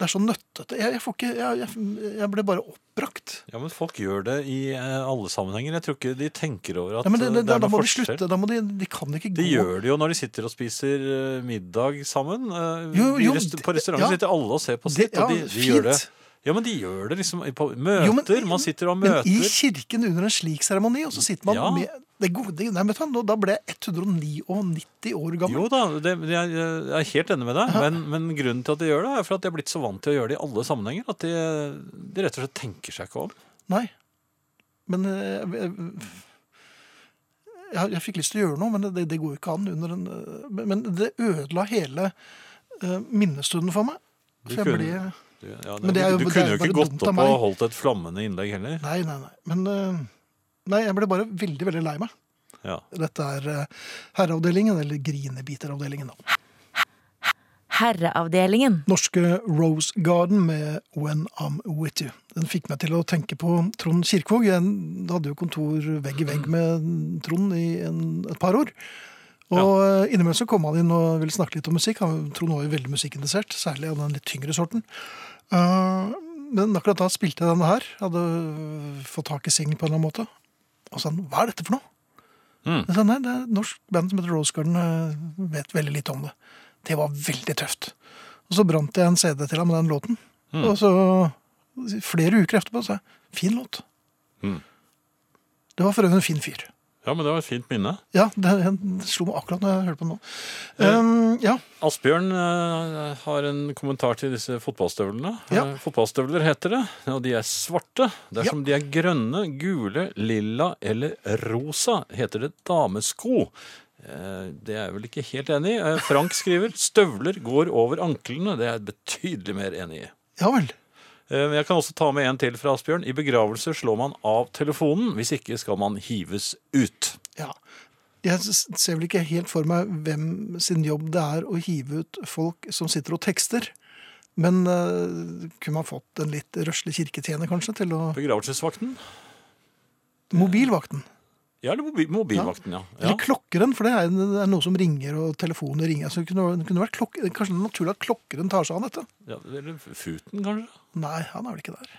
S3: Det er så nøttete. Jeg, jeg, får ikke, jeg, jeg, jeg ble bare oppbrakt.
S2: Ja, men folk gjør det i eh, alle sammenhenger. Jeg tror ikke de tenker over at
S3: Ja, men det,
S2: eh,
S3: det,
S2: det er
S3: da
S2: noe
S3: må de
S2: forskjell.
S3: slutte. Da må de, de kan ikke gå
S2: De gjør det jo når de sitter og spiser eh, middag sammen. Eh,
S3: Jo,
S2: i
S3: jo,
S2: rest-
S3: det-
S2: på restauranten
S3: ja.
S2: sitter alle og ser på
S3: Det-
S2: sitt, og de,
S3: ja,
S2: de gjør det.
S3: fint.
S2: Ja, men de gjør det liksom i- på møter.
S3: Jo, men-
S2: man sitter og
S3: Men
S2: møter.
S3: i kirken under en slik seremoni, og så sitter man
S2: Ja.
S3: med det gode Nei, vet du, hva, nå- da ble jeg 199 år gammel.
S2: Jo da, det, jeg, jeg er helt enig med deg, men, men grunnen til at de gjør det, er for at de er blitt så vant til å gjøre det i alle sammenhenger at de, de rett og slett tenker seg ikke om.
S3: Nei. Men eh, jeg, jeg, jeg fikk lyst til å gjøre noe, men det, det går jo ikke an. Under en, eh, men- men det ødela hele eh, minnestunden for meg.
S2: Du
S3: For jeg ble,
S2: kunne- Du, ja,
S3: Men det er jo-
S2: du
S3: det
S2: kunne
S3: er
S2: jo
S3: bare
S2: ikke
S3: dumt
S2: gått opp
S3: av
S2: og
S3: meg.
S2: holdt et flammende innlegg heller.
S3: nei, nei, nei. Men eh, nei, jeg ble bare veldig, veldig lei meg.
S2: Ja.
S3: Dette er eh, herreavdelingen, eller grinebiteravdelingen, da.
S6: Herreavdelingen.
S3: Norske Rose Garden med When I'm With You. Den fikk meg til å tenke på Trond Kirkvaag. Jeg hadde jo kontor vegg i vegg med Trond i en, et par år. Og eh, innimellom så kom han inn og ville snakke litt om musikk. Han, Trond var jo veldig musikkinteressert, særlig av den litt tyngre sorten. Eh, men akkurat da spilte jeg denne her. Hadde fått tak i singelen på en eller annen måte. Og så sa han 'hva er dette for noe'?
S2: Mm.
S3: Jeg sa nei, det sånn er et norsk band som heter Rose Garden. eh, Vet veldig lite om det. Det var veldig tøft. Og så brant jeg en CD til ham med den låten. Og så flere uker etterpå sa jeg fin låt.
S2: Mm.
S3: Det var for øvrig en fin fyr.
S2: ja, men det var et fint minne.
S3: Ja, det, det slo meg akkurat når jeg hørte på den nå. Um, ja,
S2: Asbjørn eh, har en kommentar til disse fotballstøvlene.
S3: Ja.
S2: Eh, fotballstøvler heter det, og de er svarte. Dersom de er grønne, gule, lilla eller rosa, heter det damesko. Eh, Det er jeg vel ikke helt enig i. Eh, Frank skriver støvler går over anklene. Det er jeg betydelig mer enig i.
S3: ja vel.
S2: Eh, men Jeg kan også ta med en til fra Asbjørn. I begravelser slår man av telefonen. Hvis ikke skal man hives ut.
S3: Ja. Jeg s- ser vel ikke helt for meg hvem sin jobb det er å hive ut folk som sitter og tekster. Men eh, kunne man fått en litt røslig kirketjener, kanskje, til å
S2: Begravelsesvakten?
S3: Mobilvakten.
S2: Ja, eller mobi- mobilvakten, ja. ja.
S3: Eller klokkeren, for det er, det er noe som ringer, og telefoner ringer. Så det kunne, det kunne vært klok kanskje det er naturlig at klokkeren tar seg av dette?
S2: ja eller Futen, kanskje?
S3: Nei, han er vel ikke der.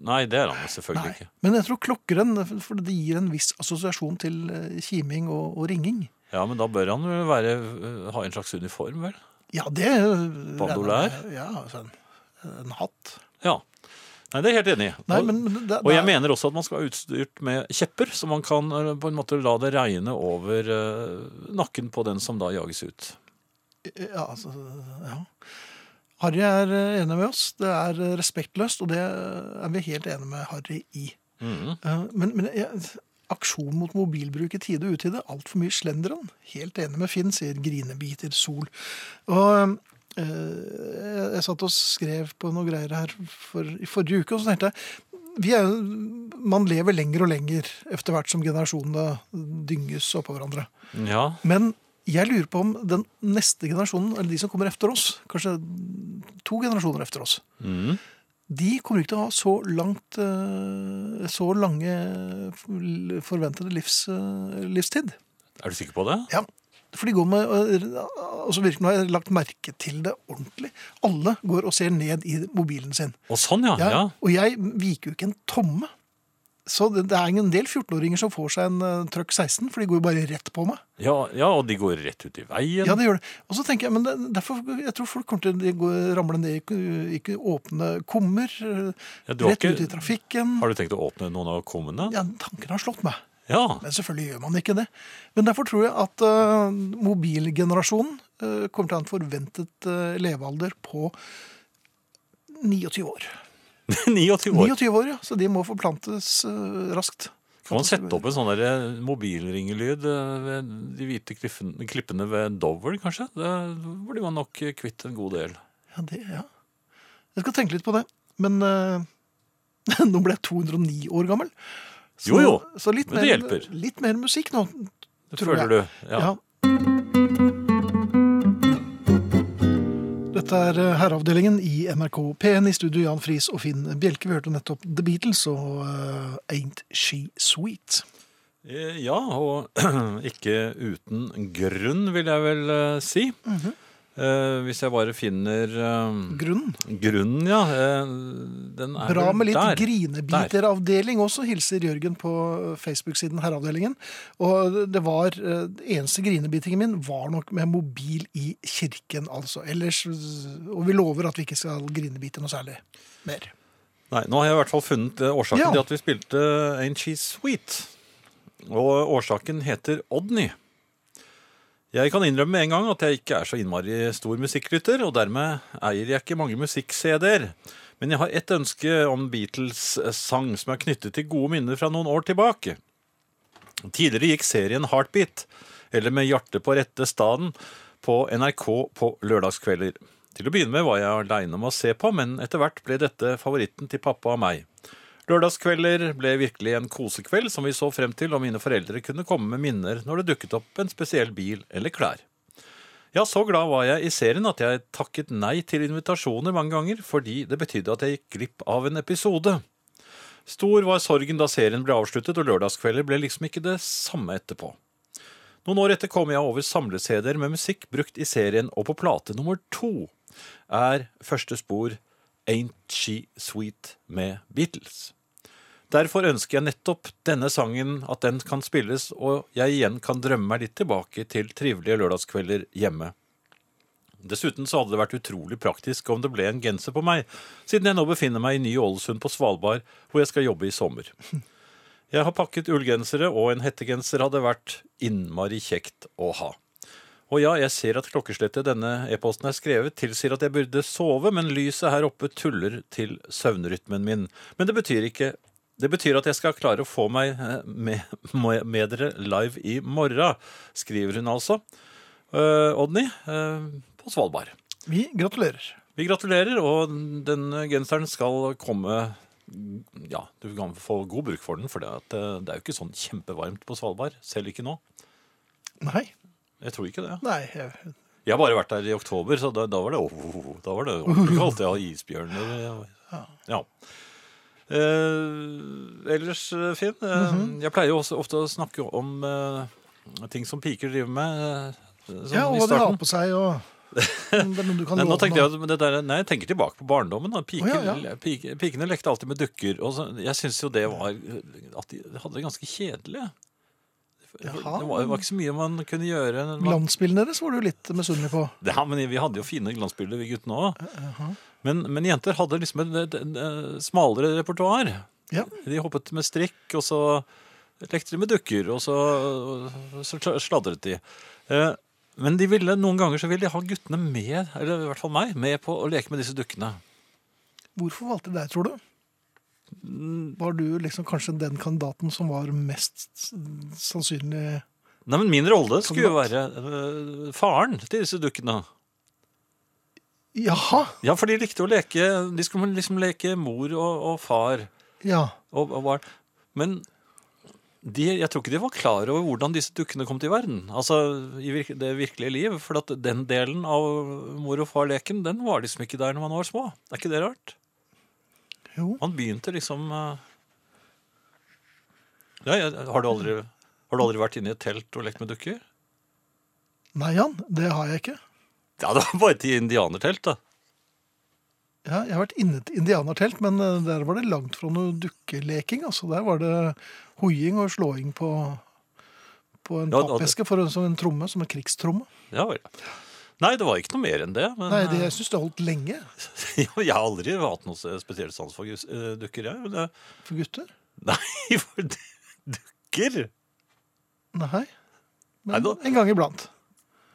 S2: Nei, det er han jo selvfølgelig
S3: Nei.
S2: ikke.
S3: Men jeg tror klokkeren For det gir en viss assosiasjon til eh, kiming og, og ringing.
S2: Ja, Men da bør han vel være, eh, ha en slags uniform, vel?
S3: Ja, det regner jeg
S2: Bandolær?
S3: med. Ja, altså en, en hatt.
S2: Ja. Nei, det er jeg helt enig i.
S3: Nei,
S2: Og-
S3: men det, det,
S2: Og jeg mener også at man skal være utstyrt med kjepper, så man kan eh, på en måte la det regne over eh, nakken på den som da jages ut.
S3: Ja, altså, ja. Harry er eh, enig med oss. Det er eh, respektløst, og det eh, er vi helt enig med Harry i. Eh, Men, men jeg, aksjon mot mobilbruk i tide og utide, altfor mye slenderen. Helt enig med Finn, sier grinebiter sol. Og eh, jeg, jeg satt og skrev på noe greier her for, i forrige uke, og så tenkte jeg vi er, man lever lenger og lenger etter hvert som generasjonene dynges oppå hverandre.
S2: Ja,
S3: Men jeg lurer på om den neste generasjonen, eller de som kommer efter oss, kanskje to generasjoner efter oss, de kommer ikke til å ha så langt eh, Så lange l- forventede livs, eh, livstid.
S2: Er du sikker på det?
S3: Ja. For de går med eh, altså virkelig, Nå har jeg lagt merke til det ordentlig. Alle går og ser ned i mobilen sin.
S2: Å, sånn, ja.
S3: Jeg,
S2: ja.
S3: Og jeg viker jo ikke en tomme. Så det, det er en del 14-åringer som får seg en eh, trøkk 16, for de går jo bare rett på meg.
S2: Ja, ja, og de går rett ut i veien.
S3: Ja, det gjør det. Og så tenker jeg, men det, derfor, jeg tror folk kommer til å gå- ramle ned i ku- ikke åpne kummer, eh,
S2: Ja, du har
S3: rett
S2: ikke-
S3: ut i trafikken.
S2: Har du tenkt å åpne noen av kommene?
S3: Ja, tanken har slått meg.
S2: Ja. *laughs*
S3: Men selvfølgelig gjør man ikke det. Men derfor tror jeg at eh, mobilgenerasjonen eh, kommer til å ha en forventet eh, levealder på 29 år.
S2: 29 år.
S3: 29 år, ja. Så de må forplantes eh, raskt.
S2: Kan man sette opp en sånn der mobilringelyd eh, ved de hvite kliffen- klippene ved Dover, kanskje? Da blir man nok kvitt en god del.
S3: Ja, det, ja. Jeg skal tenke litt på det. Men eh, *laughs* nå ble jeg 209 år gammel. Så,
S2: Jo, jo,
S3: Så litt
S2: men
S3: mer,
S2: det hjelper.
S3: Litt mer musikk nå.
S2: Det
S3: Tror
S2: føler
S3: jeg.
S2: du.
S3: Ja.
S2: Ja.
S3: Dette er eh, Herreavdelingen i NRK P1 i studio Jan Friis og Finn Bjelke. Vi hørte nettopp The Beatles og eh, Ain't She Sweet.
S2: Eh, Ja, og *clears throat* ikke uten grunn, vil jeg vel eh, si.
S3: Mhm.
S2: Eh, hvis jeg bare finner eh,
S3: Grunnen.
S2: grunnen, ja. eh, den er
S3: Bra
S2: vel
S3: med
S2: der.
S3: litt grinebiteravdeling også, hilser Jørgen på Facebook-siden Herreavdelingen. Og det var, eh, det eneste grinebitingen min var nok med mobil i kirken, altså. Ellers, og vi lover at vi ikke skal grinebite noe særlig mer.
S2: Nei, nå har jeg i hvert fall funnet eh, årsaken
S3: Ja.
S2: til at vi spilte Ain't She Sweet. Og årsaken heter Odny. Jeg kan innrømme med en gang at jeg ikke er så innmari stor musikklytter, og dermed eier jeg ikke mange musikk-CD-er. Men jeg har ett ønske om Beatles-sang som er knyttet til gode minner fra noen år tilbake. Tidligere gikk serien Heartbeat, eller Med hjertet på rette staden, på NRK på lørdagskvelder. Til å begynne med var jeg aleine om å se på, men etter hvert ble dette favoritten til pappa og meg. Lørdagskvelder ble virkelig en kosekveld som vi så frem til, og mine foreldre kunne komme med minner når det dukket opp en spesiell bil eller klær. Ja, så glad var jeg i serien at jeg takket nei til invitasjoner mange ganger, fordi det betydde at jeg gikk glipp av en episode. Stor var sorgen da serien ble avsluttet, og lørdagskvelder ble liksom ikke det samme etterpå. Noen år etter kom jeg over samle-CD-er med musikk brukt i serien, og på plate nummer to er første spor Ain't She Sweet med Beatles. Derfor ønsker jeg nettopp denne sangen at den kan spilles, og jeg igjen kan drømme meg litt tilbake til trivelige lørdagskvelder hjemme. Dessuten så hadde det vært utrolig praktisk om det ble en genser på meg, siden jeg nå befinner meg i Ny-Ålesund på Svalbard, hvor jeg skal jobbe i sommer. *laughs* Jeg har pakket ullgensere, og en hettegenser hadde vært innmari kjekt å ha. Og ja, jeg ser at klokkeslettet denne e-posten er skrevet, tilsier at jeg burde sove, men lyset her oppe tuller til søvnrytmen min. Men det betyr ikke Det betyr at jeg skal klare å få meg eh, med, *laughs* med med dere live i morgen, skriver hun altså. Eh, Odny, eh, på Svalbard.
S3: Vi gratulerer.
S2: Vi gratulerer, og den genseren skal komme Ja, du kan få god bruk for den, for det, at eh, det er jo ikke sånn kjempevarmt på Svalbard. Selv ikke nå.
S3: Nei.
S2: Jeg tror ikke det.
S3: Nei, jeg
S2: Jeg har bare vært der i oktober, så da, da var det oh, Da var det ordentlig kaldt. Jeg har isbjørner. Ja. ja. Eh, ellers, eh, Finn, eh,
S3: Mhm.
S2: jeg pleier jo også ofte å snakke om eh, ting som piker driver med. eh, sånn
S3: Ja, og
S2: i
S3: hva de har
S2: starten.
S3: på seg,
S2: *laughs*
S3: og Om det er noe du kan
S2: Nei, nå
S3: låne.
S2: tenkte jeg, at det der, nei, jeg tenker tilbake på barndommen. Da. Piker,
S3: Å, ja, ja.
S2: pike- pikene lekte alltid med dukker. Og så, jeg syns jo det var At de hadde det ganske kjedelig. Det
S3: Jaha.
S2: var, det var ikke så mye man kunne gjøre. Man,
S3: Glansbilene deres var du litt misunnelig på.
S2: ja, men vi hadde jo fine glansbilder, vi guttene òg. Men, men jenter hadde liksom et, et, et, eh, smalere repertoar.
S3: Ja.
S2: De hoppet med strikk, og så lekte de med dukker, og så, så sladret de. Eh, Men de ville, noen ganger så ville de ha guttene med, eller i hvert fall meg, med på å leke med disse dukkene.
S3: Hvorfor valgte de deg, tror du?
S2: Mm.
S3: Var du liksom kanskje den kandidaten som var mest s- sannsynlig
S2: Nei, men min rolle skulle jo være eh, faren til disse dukkene.
S3: Jaha!
S2: Ja, for de likte å leke, de skulle liksom leke mor og, og far
S3: Ja.
S2: og, og barn. Men de, jeg tror ikke de var klar over hvordan disse dukkene kom til verden. Altså i virke, det virkelige liv. For at den delen av mor og far-leken, den var liksom ikke der når man var små. Er ikke det rart?
S3: Jo.
S2: Man begynte liksom eh, ja, ja, har, du aldri, har du aldri vært inne i et telt og lekt med dukker?
S3: Nei, Jan, det har jeg ikke.
S2: Ja, det var bare et indianertelt, da.
S3: Ja, jeg har vært inne til indianertelt, men eh, der var det langt fra noe dukkeleking. altså. Der var det hoiing og slåing på, på en
S2: Ja, og-
S3: pappeske for, en- som en tromme, som en krigstromme.
S2: Ja vel. Nei, det var ikke noe mer enn det. Men
S3: Nei, det, jeg syns det holdt lenge
S2: eh, *laughs* jeg har aldri hatt noe spesielt sans for gus- eh, *laughs* dukker, jeg. Men, det-
S3: for gutter.
S2: nei, for du- dukker!
S3: Nei.
S2: Nei,
S3: Men
S2: da-
S3: en gang iblant.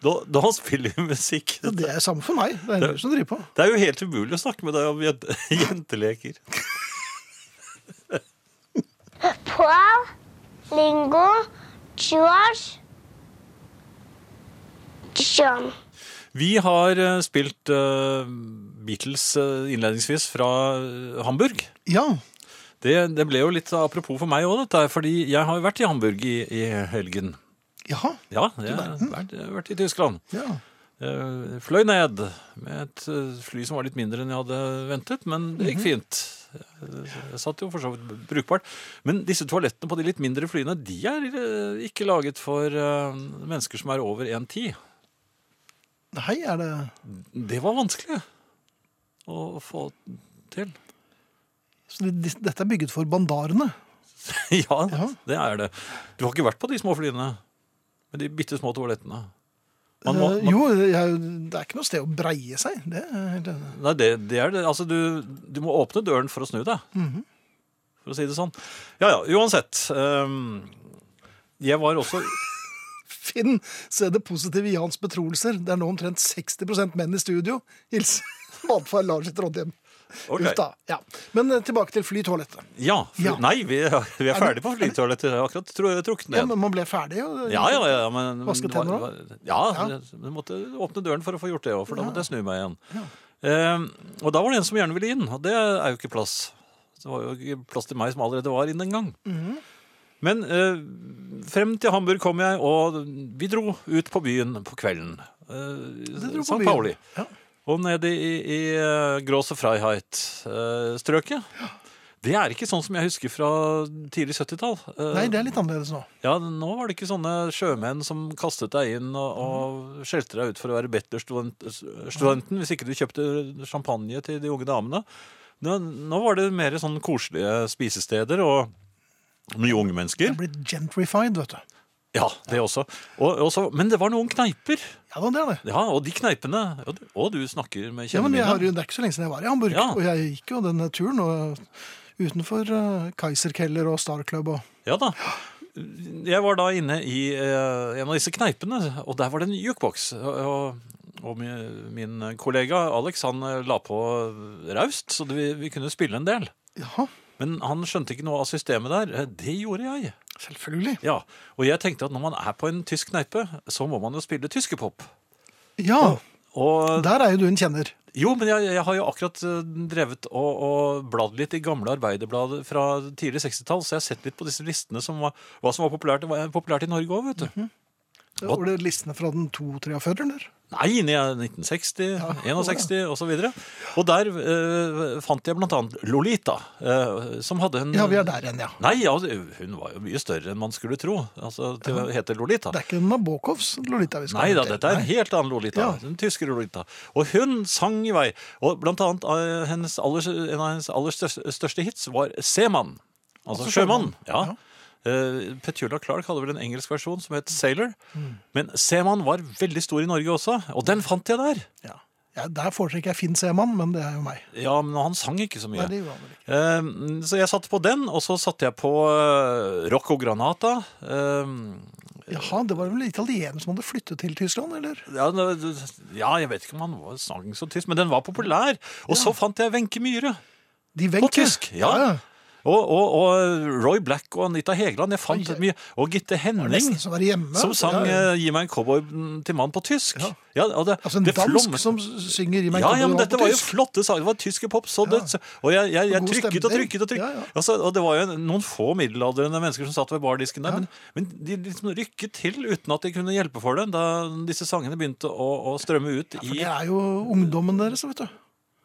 S2: Da, da spiller vi musikk.
S3: Så det er samme for meg. Det er
S2: Det-
S3: du som driver på.
S2: Det er jo helt umulig å snakke med deg om jente, *laughs* jenteleker.
S4: Paul, Lingo, George, John.
S2: Vi har eh, spilt eh, Beatles eh, innledningsvis fra eh, Hamburg.
S3: Ja.
S2: Det, det ble jo litt apropos for meg òg, dette her, fordi jeg har jo vært i Hamburg i, i helgen.
S3: Jaha.
S2: Ja, jeg har vært, jeg har vært i Tyskland.
S3: Ja.
S2: Jeg Eh, fløy ned med et eh, fly som var litt mindre enn jeg hadde ventet, men det
S3: Mhm.
S2: gikk fint. Jeg jeg satt jo for så vidt brukbart. Men disse toalettene på de litt mindre flyene, de er eh, ikke laget for eh, mennesker som er over 1,10.
S3: Nei, er det
S2: Det var vanskelig å få til. *laughs*
S3: Så det, dis- dette er bygget for bandarene?
S2: ja,
S3: Ja.
S2: det er det. Du har ikke vært på de små flyene med de bitte små toalettene? Man må,
S3: Eh,
S2: man,
S3: jo, jeg, det er ikke noe sted å breie seg. Det, er helt enig.
S2: Nei, det, det er det. Altså, du, du må åpne døren for å snu deg.
S3: Mhm.
S2: For å si det sånn. Ja, ja, uansett. ehm, jeg var også
S3: Finn, se det positive i Jans betroelser. Det er nå omtrent 60 menn i studio. Hils *laughs* matfar Lars i Trondheim.
S2: Ok.
S3: Uff da. Ja. Men eh, tilbake til flytoalettet.
S2: Ja. Fly,
S3: Ja.
S2: Nei, vi, vi er ferdig på flytoalettet. Jeg har akkurat tru- trukket
S3: Ja,
S2: ned.
S3: men man ble ferdig, jo.
S2: Ja, ja, ja, men, men
S3: Vaske
S2: det var-
S3: tenner
S2: det var- Ja,
S3: Ja.
S2: jeg måtte åpne døren for å få gjort det òg, for da måtte jeg snu meg igjen. Ehm, og da var det en som gjerne ville inn, og det er jo ikke plass. Det var jo ikke plass til meg som allerede var inne en gang.
S3: Mhm.
S2: Men eh, frem til Hamburg kom jeg, og vi dro ut på byen på kvelden.
S3: Det
S2: Uh,
S3: dro på
S2: St.
S3: byen.
S2: Pauli.
S3: Ja.
S2: Og nede i, i eh, Große Freiheit-strøket. Det er ikke sånn som jeg husker fra tidlig 70-tall. Eh,
S3: Nei, det er litt annerledes nå.
S2: ja, nå var det ikke sånne sjømenn som kastet deg inn og, og skjelte deg ut for å være bachelorstudenten hvis ikke du kjøpte champagne til de unge damene. Nå, nå var det mer sånn koselige spisesteder og mye unge
S3: Det
S2: mennesker.
S3: er blitt gentrified, vet du.
S2: Ja, det også. Og, og så- men det var noen kneiper.
S3: Ja, da, det er det.
S2: Ja, og de kneipene Og du, og du snakker med
S3: Ja, men jeg har,
S2: kjenningene.
S3: jo- det er ikke så lenge siden jeg var i Hamburg,
S2: Ja.
S3: og jeg gikk jo denne turen og, utenfor eh, Kaiserkeller og Star Club og
S2: Ja da. Jeg var da inne i eh, en av disse kneipene, og der var det en jukeboks. Og, og, og mi- min kollega Alex han eh, la på raust, så det, vi, vi kunne spille en del.
S3: Jaha,
S2: Men han skjønte ikke noe av systemet der. Eh, Det gjorde jeg.
S3: selvfølgelig.
S2: Ja, Og jeg tenkte at når man er på en tysk kneipe, så må man jo spille tyskerpop.
S3: Ja,
S2: Og,
S3: der er jo du en kjenner.
S2: jo, men jeg, jeg har jo akkurat eh, drevet og, og bladd litt i gamle arbeiderblader fra tidlig 60-tall, så jeg har sett litt på disse listene som var, hva som var populært, populært i Norge òg, vet du. Hva-
S3: Var det listene fra den 243, eller?
S2: Nei, ned i 1960, 61 og så videre. Og der eh, fant jeg blant annet Lolita, eh, som hadde en
S3: Ja, vi er der igjen, ja.
S2: Nei, ja, hun var jo mye større enn man skulle tro. Altså, til å hete Lolita.
S3: Det er ikke Nabokovs Lolita vi skal
S2: Nei da,
S3: til.
S2: dette er en helt annen Lolita.
S3: Ja.
S2: En tysker Lolita. Og hun sang i vei. Og blant annet eh, hennes aller, en av hennes aller største, største hits var Semann. Altså
S3: Altså
S2: sjømann.
S3: sjømann.
S2: Ja. Eh, Petula Clark hadde vel en engelsk versjon som
S3: Mm.
S2: het Sailor. Men Semann var veldig stor i Norge også, og den fant jeg der.
S3: Ja. Ja, der foretrekker jeg Finn Seemann, men det er jo meg.
S2: Ja, men han sang ikke så mye.
S3: Nei, det gjorde han vel ikke.
S2: Eh, så jeg satte på den, og så satte jeg på eh, Rocco Granata. Eh,
S3: Jaha, det var vel italienere som hadde flyttet til Tyskland, eller?
S2: ja, det- det- ja, jeg vet ikke om han var sang så tysk, men den var populær. Og så fant jeg Wenche Myhre.
S3: De Wenche.
S2: tysk, ja. Og, og, og Roy Black og Anita Hegeland. Jeg fant
S3: Oi, oi.
S2: mye. Og Gitte
S3: Det var
S2: Henning,
S3: Nesten som å være hjemme.
S2: som sang
S3: Ja, ja.
S2: eh, 'Gi meg en cowboy mm, til mann' på tysk. Ja.
S3: Ja.
S2: og det,
S3: Altså en
S2: det
S3: dansk
S2: flom-
S3: som synger i meg
S2: ja, ja, men
S3: Kabal
S2: dette
S3: på
S2: var jo
S3: tysk.
S2: flotte sanger. Det var tyske pop. Så det, så- og jeg, jeg, jeg
S3: Og god
S2: trykket og
S3: stemning.
S2: trykket og trykket.
S3: Ja, ja.
S2: Altså, og det var jo noen få middelaldrende mennesker som satt ved bardisken der, men, men de liksom rykket til uten at de kunne hjelpe for det da disse sangene begynte å, å strømme ut
S3: For det
S2: i
S3: er jo ungdommen deres, vet du.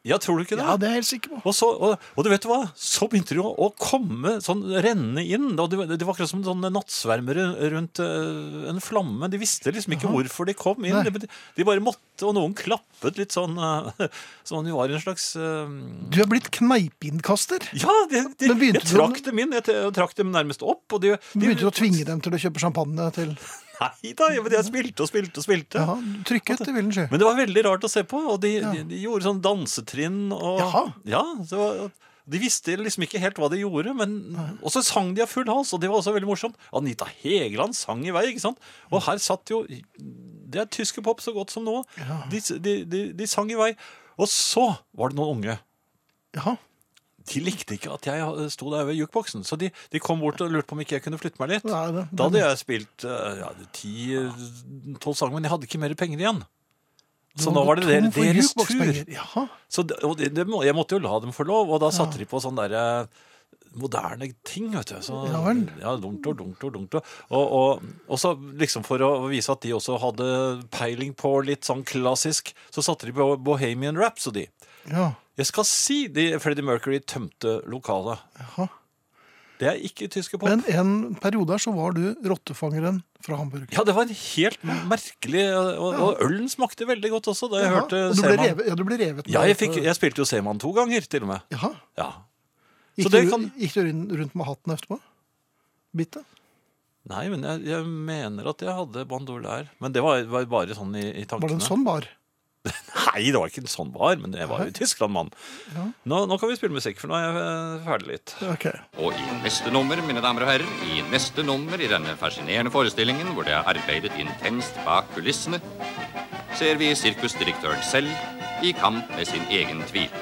S2: Ja, tror du ikke det?
S3: Ja, det er jeg helt sikker på.
S2: Og, så, og, og du vet hva, så begynte det jo å komme, sånn renne inn. Og det, var- det var akkurat som sånne nattsvermere rundt eh, en flamme. De visste liksom ikke hvorfor de kom inn.
S3: Nei.
S2: De, de bare måtte, og noen klappet litt sånn eh, *laughs* Som om de var en slags eh,
S3: Du er blitt kneipeinnkaster.
S2: Ja, de, de,
S3: Men begynte
S2: jeg trakk
S3: du-
S2: dem inn. Jeg, t- jeg trakk dem nærmest opp. Og de, de
S3: Begynte du å tvinge dem til å kjøpe champagne til
S2: Nei da, jeg, men jeg spilte og spilte og spilte.
S3: Jaha, trykket til Willensjø.
S2: Men det var veldig rart å se på, og de, de, de gjorde sånn dansetrinn og
S3: Jaha.
S2: Ja, det var, De visste liksom ikke helt hva de gjorde, men Og så sang de av full hals, og det var også veldig morsomt. Anita Hegeland sang i vei, ikke sant? Og her satt jo Det er tyske pop så godt som nå. De, de, de, de sang i vei. Og så var det noen unge.
S3: Jaha.
S2: De likte ikke at jeg eh, sto der ved jukeboksen, så de, de kom bort og lurte på om ikke jeg kunne flytte meg litt.
S3: Nei, det-
S2: da hadde jeg spilt eh, ja, ti-tolv eh, sanger, men jeg hadde ikke mer penger igjen. Så nå var det der,
S3: Tom for
S2: deres tur.
S3: jukebokspenger. Jaha.
S2: Så det, og det, det, må- jeg måtte jo la dem få lov, og da satte de på sånne der eh, moderne ting, vet du. Så,
S3: Ja vel.
S2: Ja, duntor, duntor, duntor. Og, og, og så liksom for å vise at de også hadde peiling på litt sånn klassisk, så satte de på Bohemian Rhapsody.
S3: Ja,
S2: Jeg skal si de Freddie Mercury tømte lokalet.
S3: jaha.
S2: Det er ikke tyske pop.
S3: Men en periode her så var du rottefangeren fra Hamburg.
S2: Ja, det var en helt merkelig Og, og ølen smakte veldig godt også, da jeg
S3: Jaha,
S2: hørte
S3: og du ble
S2: Seman.
S3: revet, ja, du ble revet
S2: Ja,
S3: med-
S2: jeg, fikk, jeg spilte jo Seman to ganger, til og med.
S3: Jaha.
S2: Ja. Så
S3: Gikk,
S2: det
S3: du,
S2: kan-
S3: gikk du inn- rundt med hatten etterpå? Bitte?
S2: Nei, men jeg, jeg mener at jeg hadde bandolær. Men det var, var bare sånn i, i
S3: Var
S2: tankene.
S3: det en sånn bar?
S2: Nei, det var ikke en sånn bar, men jeg var jo i Tyskland, mann. Nå, nå kan vi spille musikk, for nå er jeg eh, ferdig litt.
S3: Ok.
S7: Og i neste nummer, mine damer og herrer, i neste nummer i denne fascinerende forestillingen, hvor det er arbeidet intenst bak kulissene, ser vi sirkusdirektøren selv i kamp med sin egen tvil.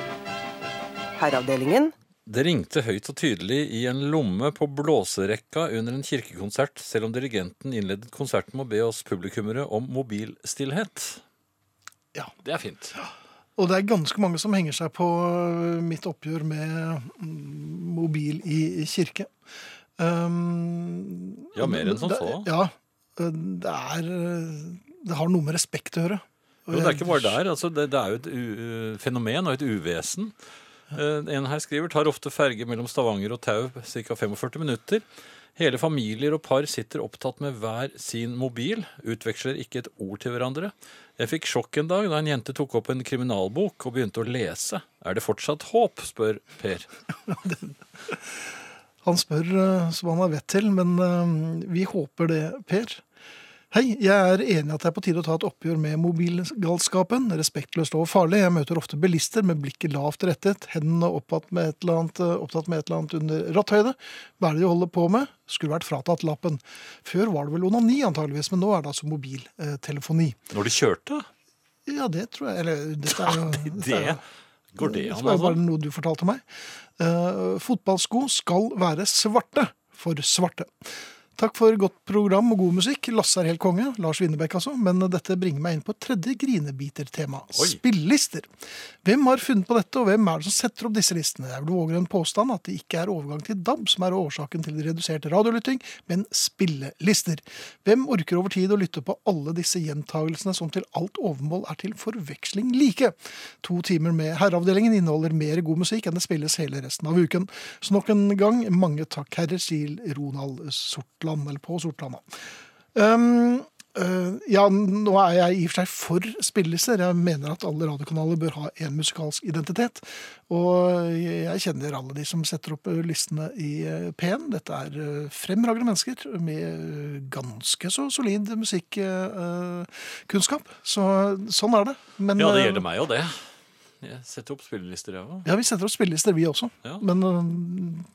S1: Herreavdelingen.
S2: Det ringte høyt og tydelig i en lomme på blåserekka under en kirkekonsert, selv om dirigenten innledet konserten med å be oss publikummere om mobilstillhet.
S3: Ja.
S2: Det er fint.
S3: Og det er ganske mange som henger seg på øh, mitt oppgjør med mm, mobil i i kirke. Um,
S2: Ja, mer enn sånn som
S3: det-
S2: så.
S3: Ja. øh, Det er øh, Det har noe med respekt å gjøre.
S2: Jo,
S3: Og
S2: det er
S3: jeg-
S2: ikke bare der. Altså, det, det er jo et u fenomen og et uvesen. Eh, en her skriver tar ofte ferge mellom Stavanger og Tau ca. 45 minutter. Hele familier og par sitter opptatt med hver sin mobil, utveksler ikke et ord til hverandre. Jeg fikk sjokk en dag da en jente tok opp en kriminalbok og begynte å lese. Er det fortsatt håp? spør Per.
S3: Han spør øh, som han har vett til, men øh, vi håper det, Per. Hei, jeg er enig i at det er på tide å ta et oppgjør med mobilgalskapen. Respektløst og farlig. Jeg møter ofte bilister med blikket lavt rettet, hendene opptatt med et eller annet, eh, opptatt med et eller annet under ratthøyde. Hva er det de holder på med? Skulle vært fratatt lappen. Før var det vel onani, antageligvis, men nå er det altså mobiltelefoni.
S2: Når du kjørte?
S3: Ja, det tror jeg Eller dette er jo dette
S2: Det
S3: er jo-
S2: går det an,
S3: var jo bare
S2: altså?
S3: noe du fortalte meg. Eh, fotballsko skal være svarte for svarte. Takk for godt program og god musikk. Lasse er helt konge. Lars Winnebekk, altså. Men dette bringer meg inn på et tredje grinebitertema.
S2: Oi.
S3: Spillelister. Hvem har funnet på dette, og hvem er det som setter opp disse listene? Jeg vil våge en påstand at det ikke er overgang til DAB som er årsaken til redusert radiolytting, men spillelister. Hvem orker over tid å lytte på alle disse gjentagelsene som til alt overmål er til forveksling like? To timer med Herreavdelingen inneholder mer god musikk enn det spilles hele resten av uken. Så nok en gang, mange takk, herrer, sier Ronald Sortland, eller på Sortland. da. Um, øh, ja, nå er jeg i og for seg for spillelister. Jeg mener at alle radiokanaler bør ha en musikalsk identitet. Og jeg kjenner alle de som setter opp øh, listene i øh, P1. Dette er øh, fremragende mennesker med øh, ganske så solid musikkunnskap. Så sånn er det. Men,
S2: Ja, det
S3: øh,
S2: gjelder meg jo det. Jeg setter opp spillelister, jeg òg.
S3: ja, vi setter opp spillelister, vi også.
S2: Ja.
S3: Men øh,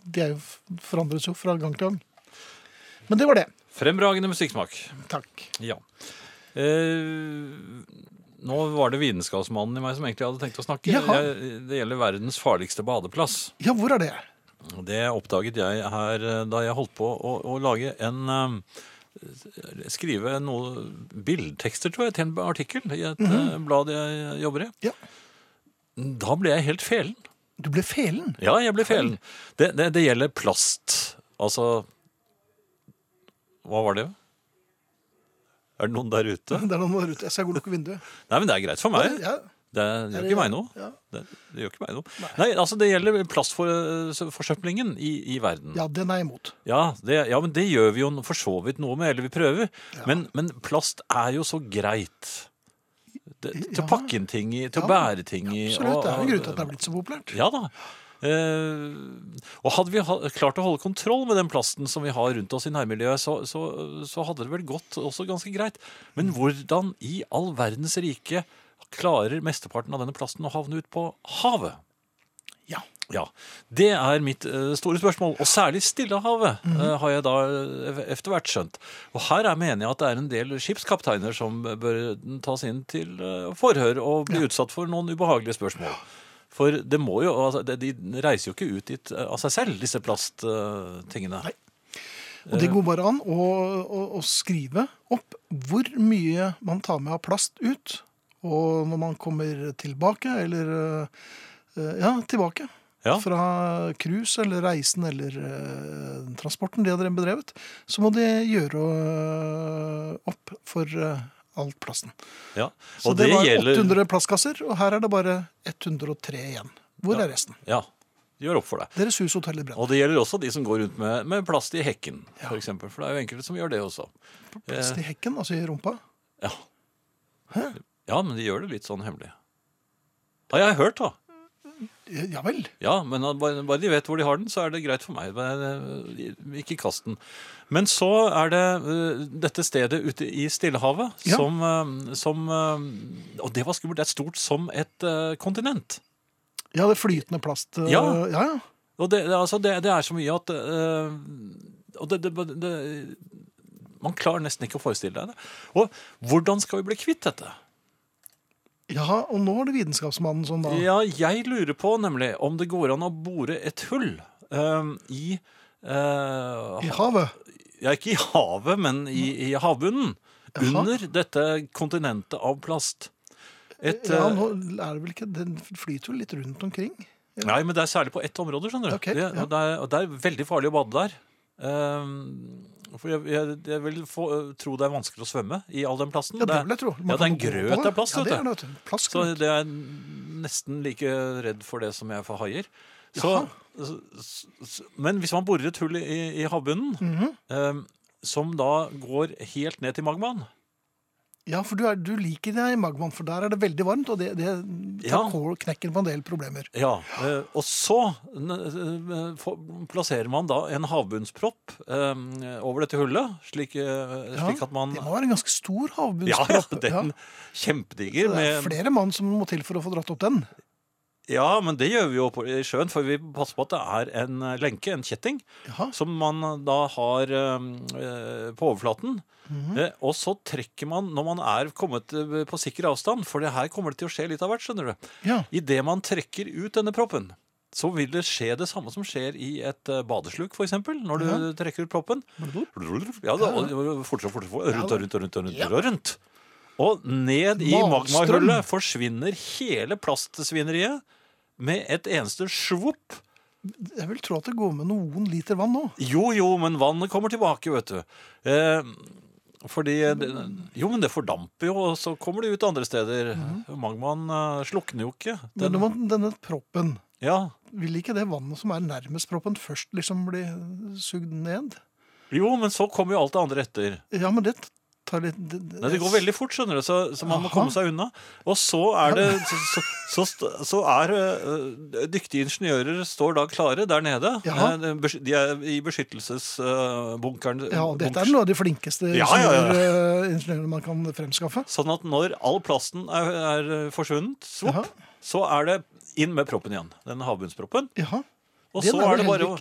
S3: de er jo, forandres jo fra gang til gang. Men det var det.
S2: Fremragende musikksmak.
S3: Takk.
S2: Ja. Eh, nå var det vitenskapsmannen i meg som egentlig hadde tenkt å snakke.
S3: Jaha.
S2: Jeg, det gjelder verdens farligste badeplass.
S3: Ja, hvor er det?
S2: Og Det oppdaget jeg her eh, da jeg holdt på å, å lage en eh, Skrive noe bildtekster, tror jeg, til en artikkel i et eh, blad jeg jobber i.
S3: Mhm. Ja.
S2: Da ble jeg helt felen.
S3: Du ble felen.
S2: Ja, jeg ble felen. Det, det, det gjelder plast. Altså Hva var det? Er det noen der ute?
S3: Det er noen der ute. Jeg skal gå og lukke vinduet.
S2: Nei, men det er greit for meg.
S3: Ja.
S2: Det gjør ikke meg noe.
S3: Ja.
S2: Det, det gjør ikke meg noe. Nei, altså det gjelder plastforsøplingen i, i verden. Ja,
S3: ja, den er jeg imot.
S2: det, ja, men det gjør vi jo for så vidt noe med, eller vi prøver. Men, men plast er jo så greit. Det, til
S3: Ja.
S2: å pakke inn ting i, til å
S3: Ja,
S2: bære ting i.
S3: Absolutt.
S2: og-
S3: Det er jo en grunn til at det er blitt så populært.
S2: Ja da. Eh, og hadde vi ha, klart å holde kontroll med den plasten som vi har rundt oss i nærmiljøet, så, så, så hadde det vel gått også ganske greit. Men hvordan i all verdens rike klarer mesteparten av denne plasten å havne ut på havet?
S3: Ja.
S2: Ja, Det er mitt eh, store spørsmål, og særlig Stillehavet
S3: Mhm.
S2: eh, har jeg da eh, etter hvert skjønt. Og her er, mener jeg at det er en del skipskapteiner som bør tas inn til eh, forhør og bli utsatt for noen ubehagelige spørsmål. For det må jo, altså, det- de reiser jo ikke ut dit eh, av seg selv, disse plasttingene.
S3: Og det går bare an å, å, å skrive opp hvor mye man tar med av plast ut, og når man kommer tilbake, eller eh, Ja, tilbake.
S2: Ja.
S3: Fra cruise eller reisen eller eh, transporten de hadde bedrevet, så må de gjøre eh, opp for eh, alt plasten.
S2: ja.
S3: Så det, var 800 plastkasser, og her er det bare 103 igjen. Hvor er resten?
S2: Ja, gjør opp for deg.
S3: Deres hus, hotell i Brenna.
S2: Og det gjelder også de som går rundt med, med plast i hekken, for eksempel. For det er jo enkelte som gjør det også. eh,
S3: Plast i hekken, altså i rumpa.
S2: Ja. ja, men de gjør det litt sånn hemmelig. Ja, jeg har hørt da.
S3: Ja vel.
S2: Ja, men at bare, bare de vet hvor de har den, så er det greit for meg. Men, eh, Ikke kast den. Men så er det eh, dette stedet ute i Stillehavet
S3: Ja.
S2: som, eh, som eh, Og det var skummelt. Det er stort som et eh, kontinent.
S3: Ja, det er flytende plast. øh,
S2: Ja.
S3: ja, ja.
S2: Og det, det, altså, det, det er så mye at eh, Og det, det, det Man klarer nesten ikke å forestille deg det. Og hvordan skal vi bli kvitt dette?
S3: Ja, og nå er det vitenskapsmannen som da
S2: Ja, jeg lurer på nemlig om det går an å bore et hull eh, i eh,
S3: I havet.
S2: Ja, ikke i havet, men i, i havbunnen.
S3: Jaha.
S2: Under dette kontinentet av plast. Et,
S3: Ja,
S2: eh,
S3: nå er det vel ikke Den flyter jo litt rundt omkring.
S2: Nei, men det er særlig på ett område, skjønner du.
S3: Ok,
S2: det,
S3: ja.
S2: og det, er, og det er veldig farlig å bade der. Eh, for jeg, jeg, jeg vil få, eh, tro det er vanskelig å svømme i all den plasten.
S3: Ja, det vil jeg tro.
S2: ja, det
S3: Man
S2: er
S3: kan
S2: en
S3: gå på
S2: grøt av plast,
S3: Ja, det
S2: vet
S3: er
S2: du.
S3: det, vet du. Plast.
S2: Så det er nesten like redd for det som jeg er for haier. Så, s- s- men hvis man borer et hull i, i havbunnen,
S3: Mhm.
S2: eh, som da går helt ned til magmaen
S3: Ja, for du, er, du liker deg i magmaen, for der er det veldig varmt, og det, det tar
S2: Ja.
S3: kål- knekken på en del problemer.
S2: ja, eh, Og så n- eh, få- plasserer man da en havbunnspropp eh, over dette hullet, slik, eh,
S3: Ja,
S2: slik at man
S3: Det må være en ganske stor
S2: *laughs* ja, ja,
S3: havbunnspropp.
S2: den kjempediger.
S3: Det er
S2: Med,
S3: flere mann som må til for å få dratt opp den.
S2: Ja, men det gjør vi jo på, i sjøen, for vi passer på at det er en eh, lenke, en kjetting,
S3: Jaha.
S2: som man da har eh, eh, på overflaten. eh, og så trekker man når man er kommet eh, på sikker avstand, for det her kommer det til å skje litt av hvert, skjønner du.
S3: Ja.
S2: Idet man trekker ut denne proppen, så vil det skje det samme som skjer i et eh, badesluk, f.eks. Når du trekker ut proppen. Ja, da, og fortere og fortere, for- rundt og rundt og rundt. Og rundt, og rundt. Og ned i
S3: Malstrøm.
S2: magmahullet forsvinner hele plastsvineriet med et eneste svopp.
S3: Jeg vil tro at det går med noen liter vann nå.
S2: Jo, jo, men vannet kommer tilbake, vet du. Eh, fordi det- Jo, men det fordamper jo, og så kommer det ut andre steder. Magmaen eh, slukner jo ikke.
S3: Mhm. Men
S2: Den,
S3: om denne proppen,
S2: ja.
S3: vil ikke det vannet som er nærmest proppen, først liksom bli sugd ned?
S2: Jo, men så kommer jo alt det andre etter.
S3: Ja, men det tar litt Det, det-
S2: Nei, Det går veldig fort, skjønner du, så, så man må komme seg unna. Og så er det Så, så, så, st- så er øh, Dyktige ingeniører står da klare der nede.
S3: Jaha.
S2: Eh, det er besky- De er i beskyttelsesbunkeren.
S3: Ja, dette er noe av de flinkeste
S2: Ja, ja, ja.
S3: ingeniører- ingeniører man kan fremskaffe.
S2: Sånn at når all plasten er, er forsvunnet,
S3: Jaha.
S2: svopp, så er det inn med proppen igjen. Den havbunnsproppen.
S3: Ja.
S2: Og
S3: Den
S2: så
S3: er
S2: er
S3: vel
S2: det bare å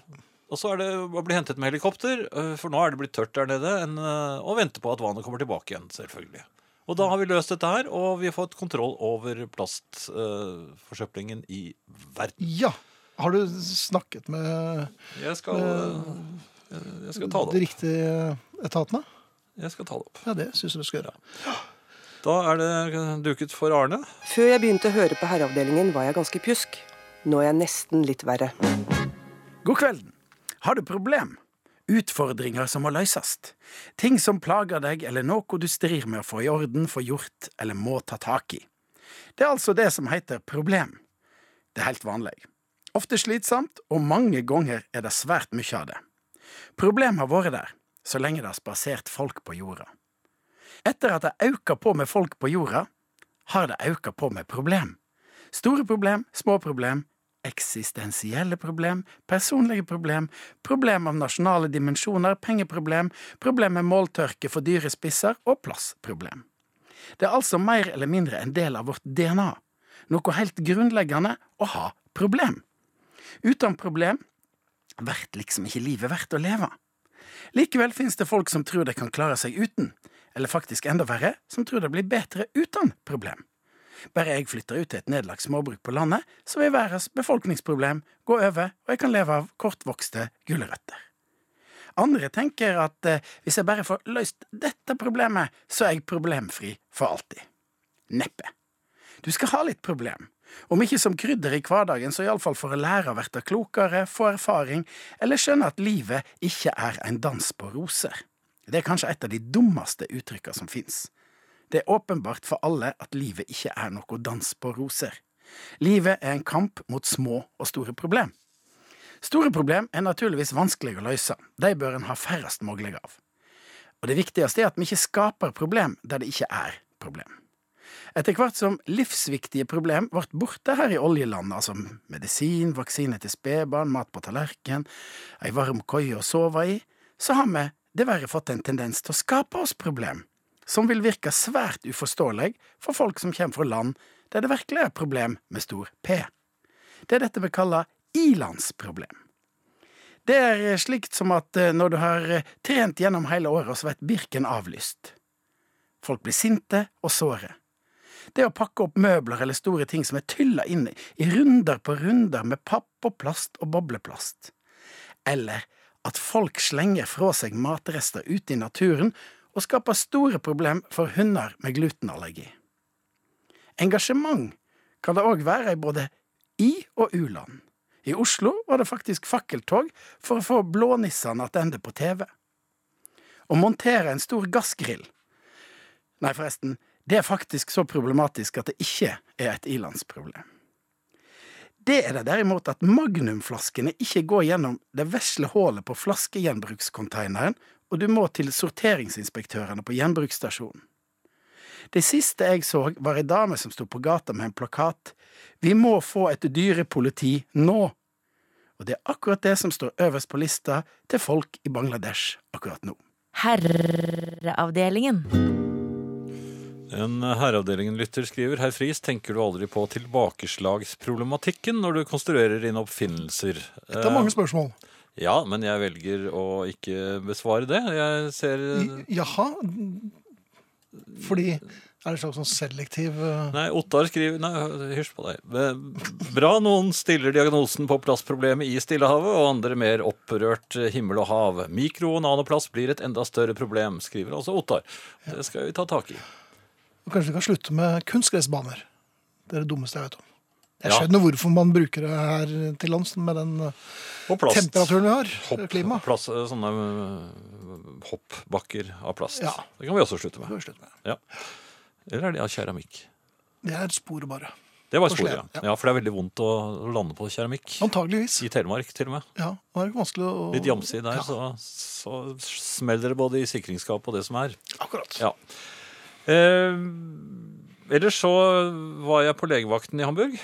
S2: og så er det å bli hentet med helikopter, øh, for nå er det blitt tørt der nede, enn, øh, og vente på at vannet kommer tilbake igjen, selvfølgelig. Og da har vi løst dette her, og vi har fått kontroll over plastforsøplingen i verden.
S3: ja. Har du snakket med
S2: Jeg skal, øh, jeg skal ta det
S3: de
S2: opp.
S3: riktige etatene?
S2: Jeg skal ta det opp.
S3: Ja, det syns jeg du skal gjøre.
S2: Da er det duket for Arne.
S1: Før jeg begynte å høre på Herreavdelingen, var jeg ganske pjusk. Nå er jeg nesten litt verre.
S8: God kvelden. Har du problem? Utfordringer som må løses. Ting som plager deg, eller noe du strir med å få i orden, få gjort eller må ta tak i. Det er altså det som heter problem. Det er helt vanlig. Ofte slitsomt, og mange ganger er det svært mye av det. Problem har vært der, så lenge det har spasert folk på jorda. Etter at det auka på med folk på jorda, har det auka på med problem. Store problem, små problem, eksistensielle problem, personlige problem, problem av nasjonale dimensjoner, pengeproblem, problem med måltørke for dyre spisser og plassproblem. Det er altså mer eller mindre en del av vårt DNA, noe helt grunnleggende å ha problem. Uten problem blir liksom ikke livet verdt å leve. Likevel finnes det folk som tror de kan klare seg uten, eller faktisk enda verre, som tror det blir bedre uten problem. Bare jeg flytter ut til et nedlagt småbruk på landet, så vil verdens befolkningsproblem gå over, og jeg kan leve av kortvokste gulrøtter. Andre tenker at eh, hvis jeg bare får løst dette problemet, så er jeg problemfri for alltid. Neppe. Du skal ha litt problem, om ikke som krydder i hverdagen, så iallfall for å lære å verte klokere, få erfaring, eller skjønne at livet ikke er en dans på roser. Det er kanskje et av de dummeste uttrykka som fins. Det er åpenbart for alle at livet ikke er noe dans på roser. Livet er en kamp mot små og store problem. Store problem er naturligvis vanskelig å løse, de bør en ha færrest mulig av. Og det viktigste er at vi ikke skaper problem der det ikke er problem. Etter hvert som livsviktige problem ble borte her i oljelandet, altså medisin, vaksine til spedbarn, mat på tallerken, ei varm køye å sove i, så har vi dessverre fått en tendens til å skape oss problem, som vil virke svært uforståelig for folk som kommer fra land der det virkelig er problem med stor P. Det er dette vi kaller ilandsproblem. Det er slikt som at eh, når du har eh, trent gjennom hele året, og så blir birken avlyst. Folk blir sinte og såre. Det å pakke opp møbler eller store ting som er tylla inn i runder på runder med papp og plast og bobleplast. Eller at folk slenger fra seg matrester ute i naturen og skaper store problem for hunder med glutenallergi. Engasjement kan det òg være i både i- og u-land. I Oslo var det faktisk fakkeltog for å få blånissene tilbake på TV. Å montere en stor gassgrill Nei, forresten, det er faktisk så problematisk at det ikke er et ilandsproblem. Det er det derimot at magnumflaskene ikke går gjennom det vesle hullet på flaskegjenbrukskonteineren, og du må til sorteringsinspektørene på gjenbruksstasjonen. Det siste jeg så, var ei dame som sto på gata med en plakat Vi må få et dyrepoliti nå! Og det er akkurat det som står øverst på lista til folk i Bangladesh akkurat nå.
S6: Herreavdelingen.
S2: En Herreavdelingen-lytter skriver Herr Friis, tenker du aldri på tilbakeslagsproblematikken når du konstruerer dine oppfinnelser?
S3: Det
S2: Eh.
S3: er mange spørsmål.
S2: Ja, men jeg velger å ikke besvare det. Jeg ser
S3: I- Jaha. Fordi Er det en slags sånn selektiv eh,
S2: Nei, Ottar skriver Nei, hysj på deg. Eh, Bra noen stiller diagnosen på plastproblemet i Stillehavet, og andre mer opprørt himmel og hav. Mikro- og nanoplast blir et enda større problem, skriver altså Ottar. Det skal vi ta tak i.
S3: og Kanskje vi kan slutte med kunstgressbaner? Det er det dummeste jeg vet om. Jeg
S2: Ja.
S3: skjønner hvorfor man bruker det her til lands med den eh,
S2: Og plast.
S3: temperaturen vi har. eh,
S2: Hopp,
S3: Klima.
S2: Plass, eh, sånne øh, hoppbakker av plast.
S3: Ja.
S2: Det kan vi også slutte
S3: Det får
S2: med.
S3: vi slutte med.
S2: Ja. Eller er det av keramikk?
S3: Det er sporet bare.
S2: Det var
S3: Porselen,
S2: sporet, ja.
S3: ja.
S2: ja. For det er veldig vondt å lande på keramikk.
S3: Antageligvis.
S2: I Telemark, til og med.
S3: Ja, og det er ikke vanskelig å
S2: Litt jamsig der,
S3: Ja,
S2: så, så smeller det både i sikringsskapet og det som er.
S3: Akkurat.
S2: Ja. Eh, ellers så var jeg på legevakten i Hamburg.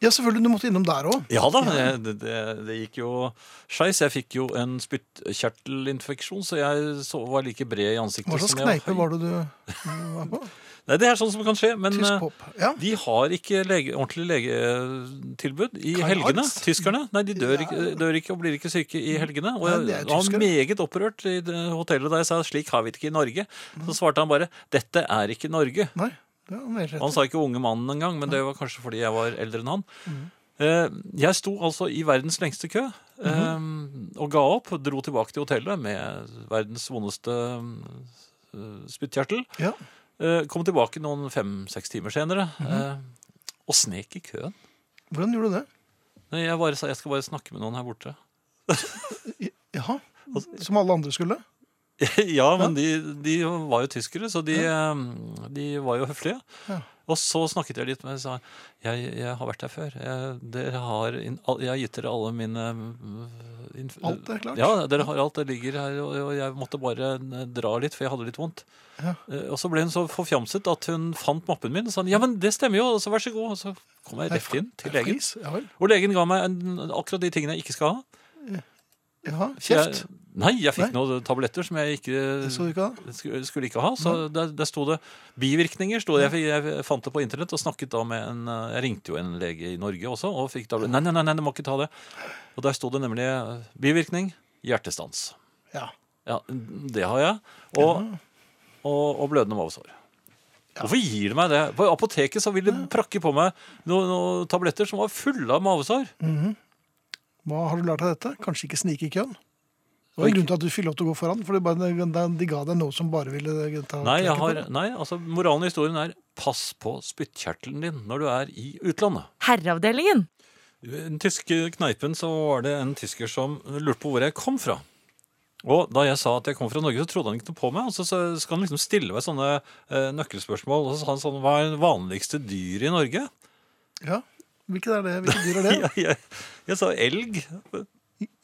S3: Ja, selvfølgelig. Du måtte innom der òg.
S2: Ja da, det, det, det gikk jo skeis. Jeg fikk jo en spyttkjertelinfeksjon, så jeg så, var like bred i ansiktet.
S3: Hva slags
S2: som jeg
S3: kneipe var det du var på?
S2: Nei, Det er sånn som kan skje, men
S3: Tysk
S2: eh,
S3: pop. Ja.
S2: de har ikke lege, ordentlig legetilbud i
S3: Karl
S2: helgene.
S3: Marx?
S2: Tyskerne. Nei, de dør,
S3: Ja.
S2: ikke, dør ikke og blir ikke syke i helgene. Og
S3: Nei, det er
S2: jeg var
S3: tyskere.
S2: meget opprørt i det hotellet da jeg sa slik har vi det ikke i Norge. Så svarte han bare dette er ikke Norge.
S3: Nei, det var mer
S2: Han
S3: rett.
S2: sa ikke unge mannen engang, men det var kanskje fordi jeg var eldre enn han.
S3: Mm.
S2: Eh, Jeg sto altså i verdens lengste kø eh,
S3: Mhm.
S2: og ga opp. Dro tilbake til hotellet med verdens vondeste eh, spyttkjertel.
S3: Ja.
S2: Eh, Kom tilbake noen fem-seks timer senere
S3: Mhm.
S2: eh, og snek i køen.
S3: Hvordan gjorde du det?
S2: Nei, Jeg bare sa jeg skal bare snakke med noen her
S3: *laughs*
S2: borte.
S3: Jaha.
S2: Altså-
S3: Som alle andre skulle?
S2: ja, men de, de var jo tyskere, så de, eh, de var jo høflige.
S3: Ja.
S2: Og så snakket jeg litt med dem og sa jeg, jeg har vært der før. Jeg, dere har, inn- al- jeg har gitt dere alle mine mm, inf-
S3: Alt er klart.
S2: Ja, dere har alt. Det ligger her. Og, og jeg måtte bare eh, dra litt, for jeg hadde litt vondt.
S3: Ja.
S2: Eh, Og så ble hun så forfjamset at hun fant mappen min og sa ja, men det stemmer jo. Og så vær så god. Og så kom jeg rett inn til legen.
S3: Flis? Ja vel.
S2: Og legen ga meg en, akkurat de tingene jeg ikke skal ha.
S3: Jaha.
S2: Jeg, eh,
S3: Kjeft?
S2: nei, jeg fikk
S3: Nei.
S2: noen tabletter som jeg ikke
S3: Det så du ikke da?
S2: skulle, skulle ikke ha. Så der, der sto det bivirkninger. Sto det, jeg, jeg fant det på internett og snakket da med en eh, Jeg ringte jo en lege i Norge også og fikk da Nei, nei, nei, nei, du må ikke ta det. Og der sto det nemlig eh, bivirkning hjertestans.
S3: Ja.
S2: Ja, det har jeg. Og, og, og blødende mavesår. Hvorfor gir de meg det? På apoteket så ville de prakke på meg noen, noen tabletter som var fulle av mavesår.
S3: Hva har du lært av dette? Kanskje ikke snike i køen? Det var
S2: Og
S3: en
S2: ikke-
S3: grunn til at du fikk lov til å gå foran, for det bare, de, de ga deg noe som bare ville eh, ta
S2: Nei, jeg
S3: knekken på
S2: har,
S3: deg.
S2: nei, altså moralen i historien er pass på spyttkjertelen din når du er i utlandet.
S6: Herreavdelingen.
S2: I den tyske kneipen så var det en tysker som lurte på hvor jeg kom fra. Og da jeg sa at jeg kom fra Norge, så trodde han ikke noe på meg. Og så så skal han liksom stille meg sånne eh, nøkkelspørsmål. Og så sa han sånn Hva er det vanligste dyret i Norge? *laughs*
S3: Ja. Hvilket er det? Hvilket dyr er det?
S2: Jeg, jeg, jeg sa elg.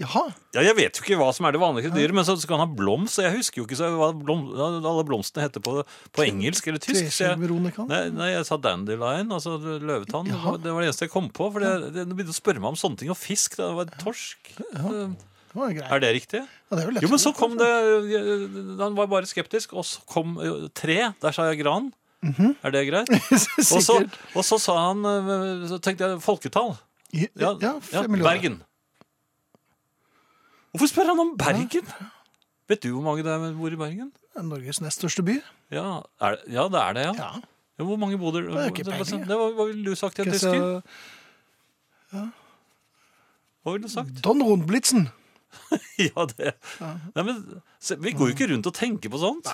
S3: Jaha.
S2: Ja, jeg vet jo ikke hva som er det vanligste dyret, men så skal han ha blomst. Og jeg husker jo ikke så hva blom, alle blomstene heter på, på engelsk eller tysk. Så jeg,
S3: Treskjellveronikan?
S2: Nei, nei, jeg sa dandelion, altså løvetann.
S3: Jaha.
S2: Det var det eneste jeg kom på. For det, det, de begynte å spørre meg om sånne ting. Og fisk. Det var torsk.
S3: Det var jo greit.
S2: Er det riktig?
S3: Ja, det er jo lett.
S2: Jo, men så kom
S3: *laughs*
S2: det eh, Han var bare skeptisk. Og så kom eh, tre. Der sa jeg gran. Er det greit?
S3: *laughs*
S2: Og så,
S3: Mhm. Sikkert.
S2: og så sa han eh, Så tenkte jeg folketall.
S3: Ja, ja, fem millioner.
S2: Bergen. Hvorfor spør han om Bergen? Vet du hvor mange det er, bor i Bergen?
S3: Norges nest største by.
S2: Ja, er det, ja, det er det, ja.
S3: Ja.
S2: Ja, Hvor mange bodde
S3: er jo ikke peiling, jeg.
S2: Det var hva ville du sagt til en
S3: Ikke så-
S2: tysker? Hva ville du sagt? *laughs*
S3: Don Rundblitzen.
S2: Ja, det Nei, men se, Vi går jo ikke rundt og tenker på sånt.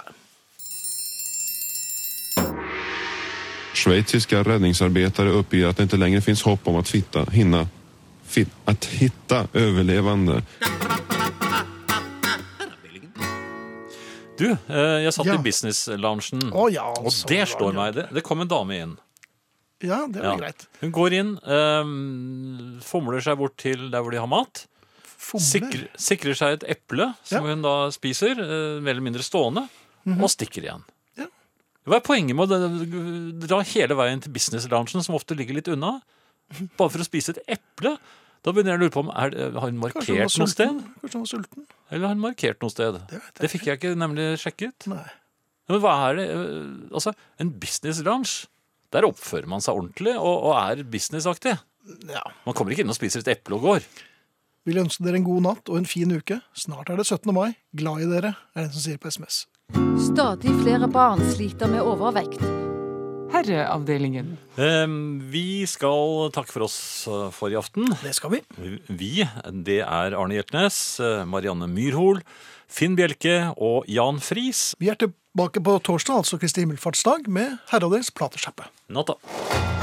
S9: Schweiziska räddningsarbetare uppger att det inte längre finns hopp om att fitta, hinna, fit, att hitta överlevande.
S2: Du, eh, jeg satt
S3: Ja.
S2: i business-loungen,
S3: Å, ja,
S2: og
S3: sånn
S2: det
S3: var
S2: slår
S3: det.
S2: meg. Det, det kom en dame inn.
S3: Ja, det var
S2: Ja.
S3: greit.
S2: Hun går inn, eh, fomler seg bort til der hvor de har mat,
S3: Fomler.
S2: sikrer, sikrer seg et eple som
S3: Ja. Mhm.
S2: hun da spiser, eh, mer eller mindre stående, og stikker igjen.
S3: Ja.
S2: Hva er poenget med å dra hele veien til business-loungen, som ofte ligger litt unna, bare for å spise et eple? Da begynner jeg å lure på om er, det- har hun
S3: Kanskje han var
S2: markert noe sted?
S3: sulten? Kanskje han var sulten?
S2: Eller har hun markert noe sted?
S3: Det
S2: Det,
S3: vet jeg
S2: fikk jeg ikke nemlig sjekket.
S3: Nei.
S2: Ja, Men hva er det? eh, Altså, en business lounge, der oppfører man seg ordentlig og, og er businessaktig.
S3: Ja.
S2: Man kommer ikke inn og spiser et eple og går.
S3: Vil ønske dere en god natt og en fin uke. Snart er det 17. mai. Glad i dere, er det en som sier på SMS.
S10: Stadig flere barn sliter med overvekt. Herreavdelingen.
S2: Eh, Vi skal takke for oss eh, for i aften.
S3: Det skal vi.
S2: Vi, det er Arne Hjeltnes, eh, Marianne Myrhol, Finn Bjelke og Jan Friis.
S3: Vi er tilbake på torsdag, altså Kristi himmelfartsdag, med herreavdelingens platesjappe.
S2: Natta.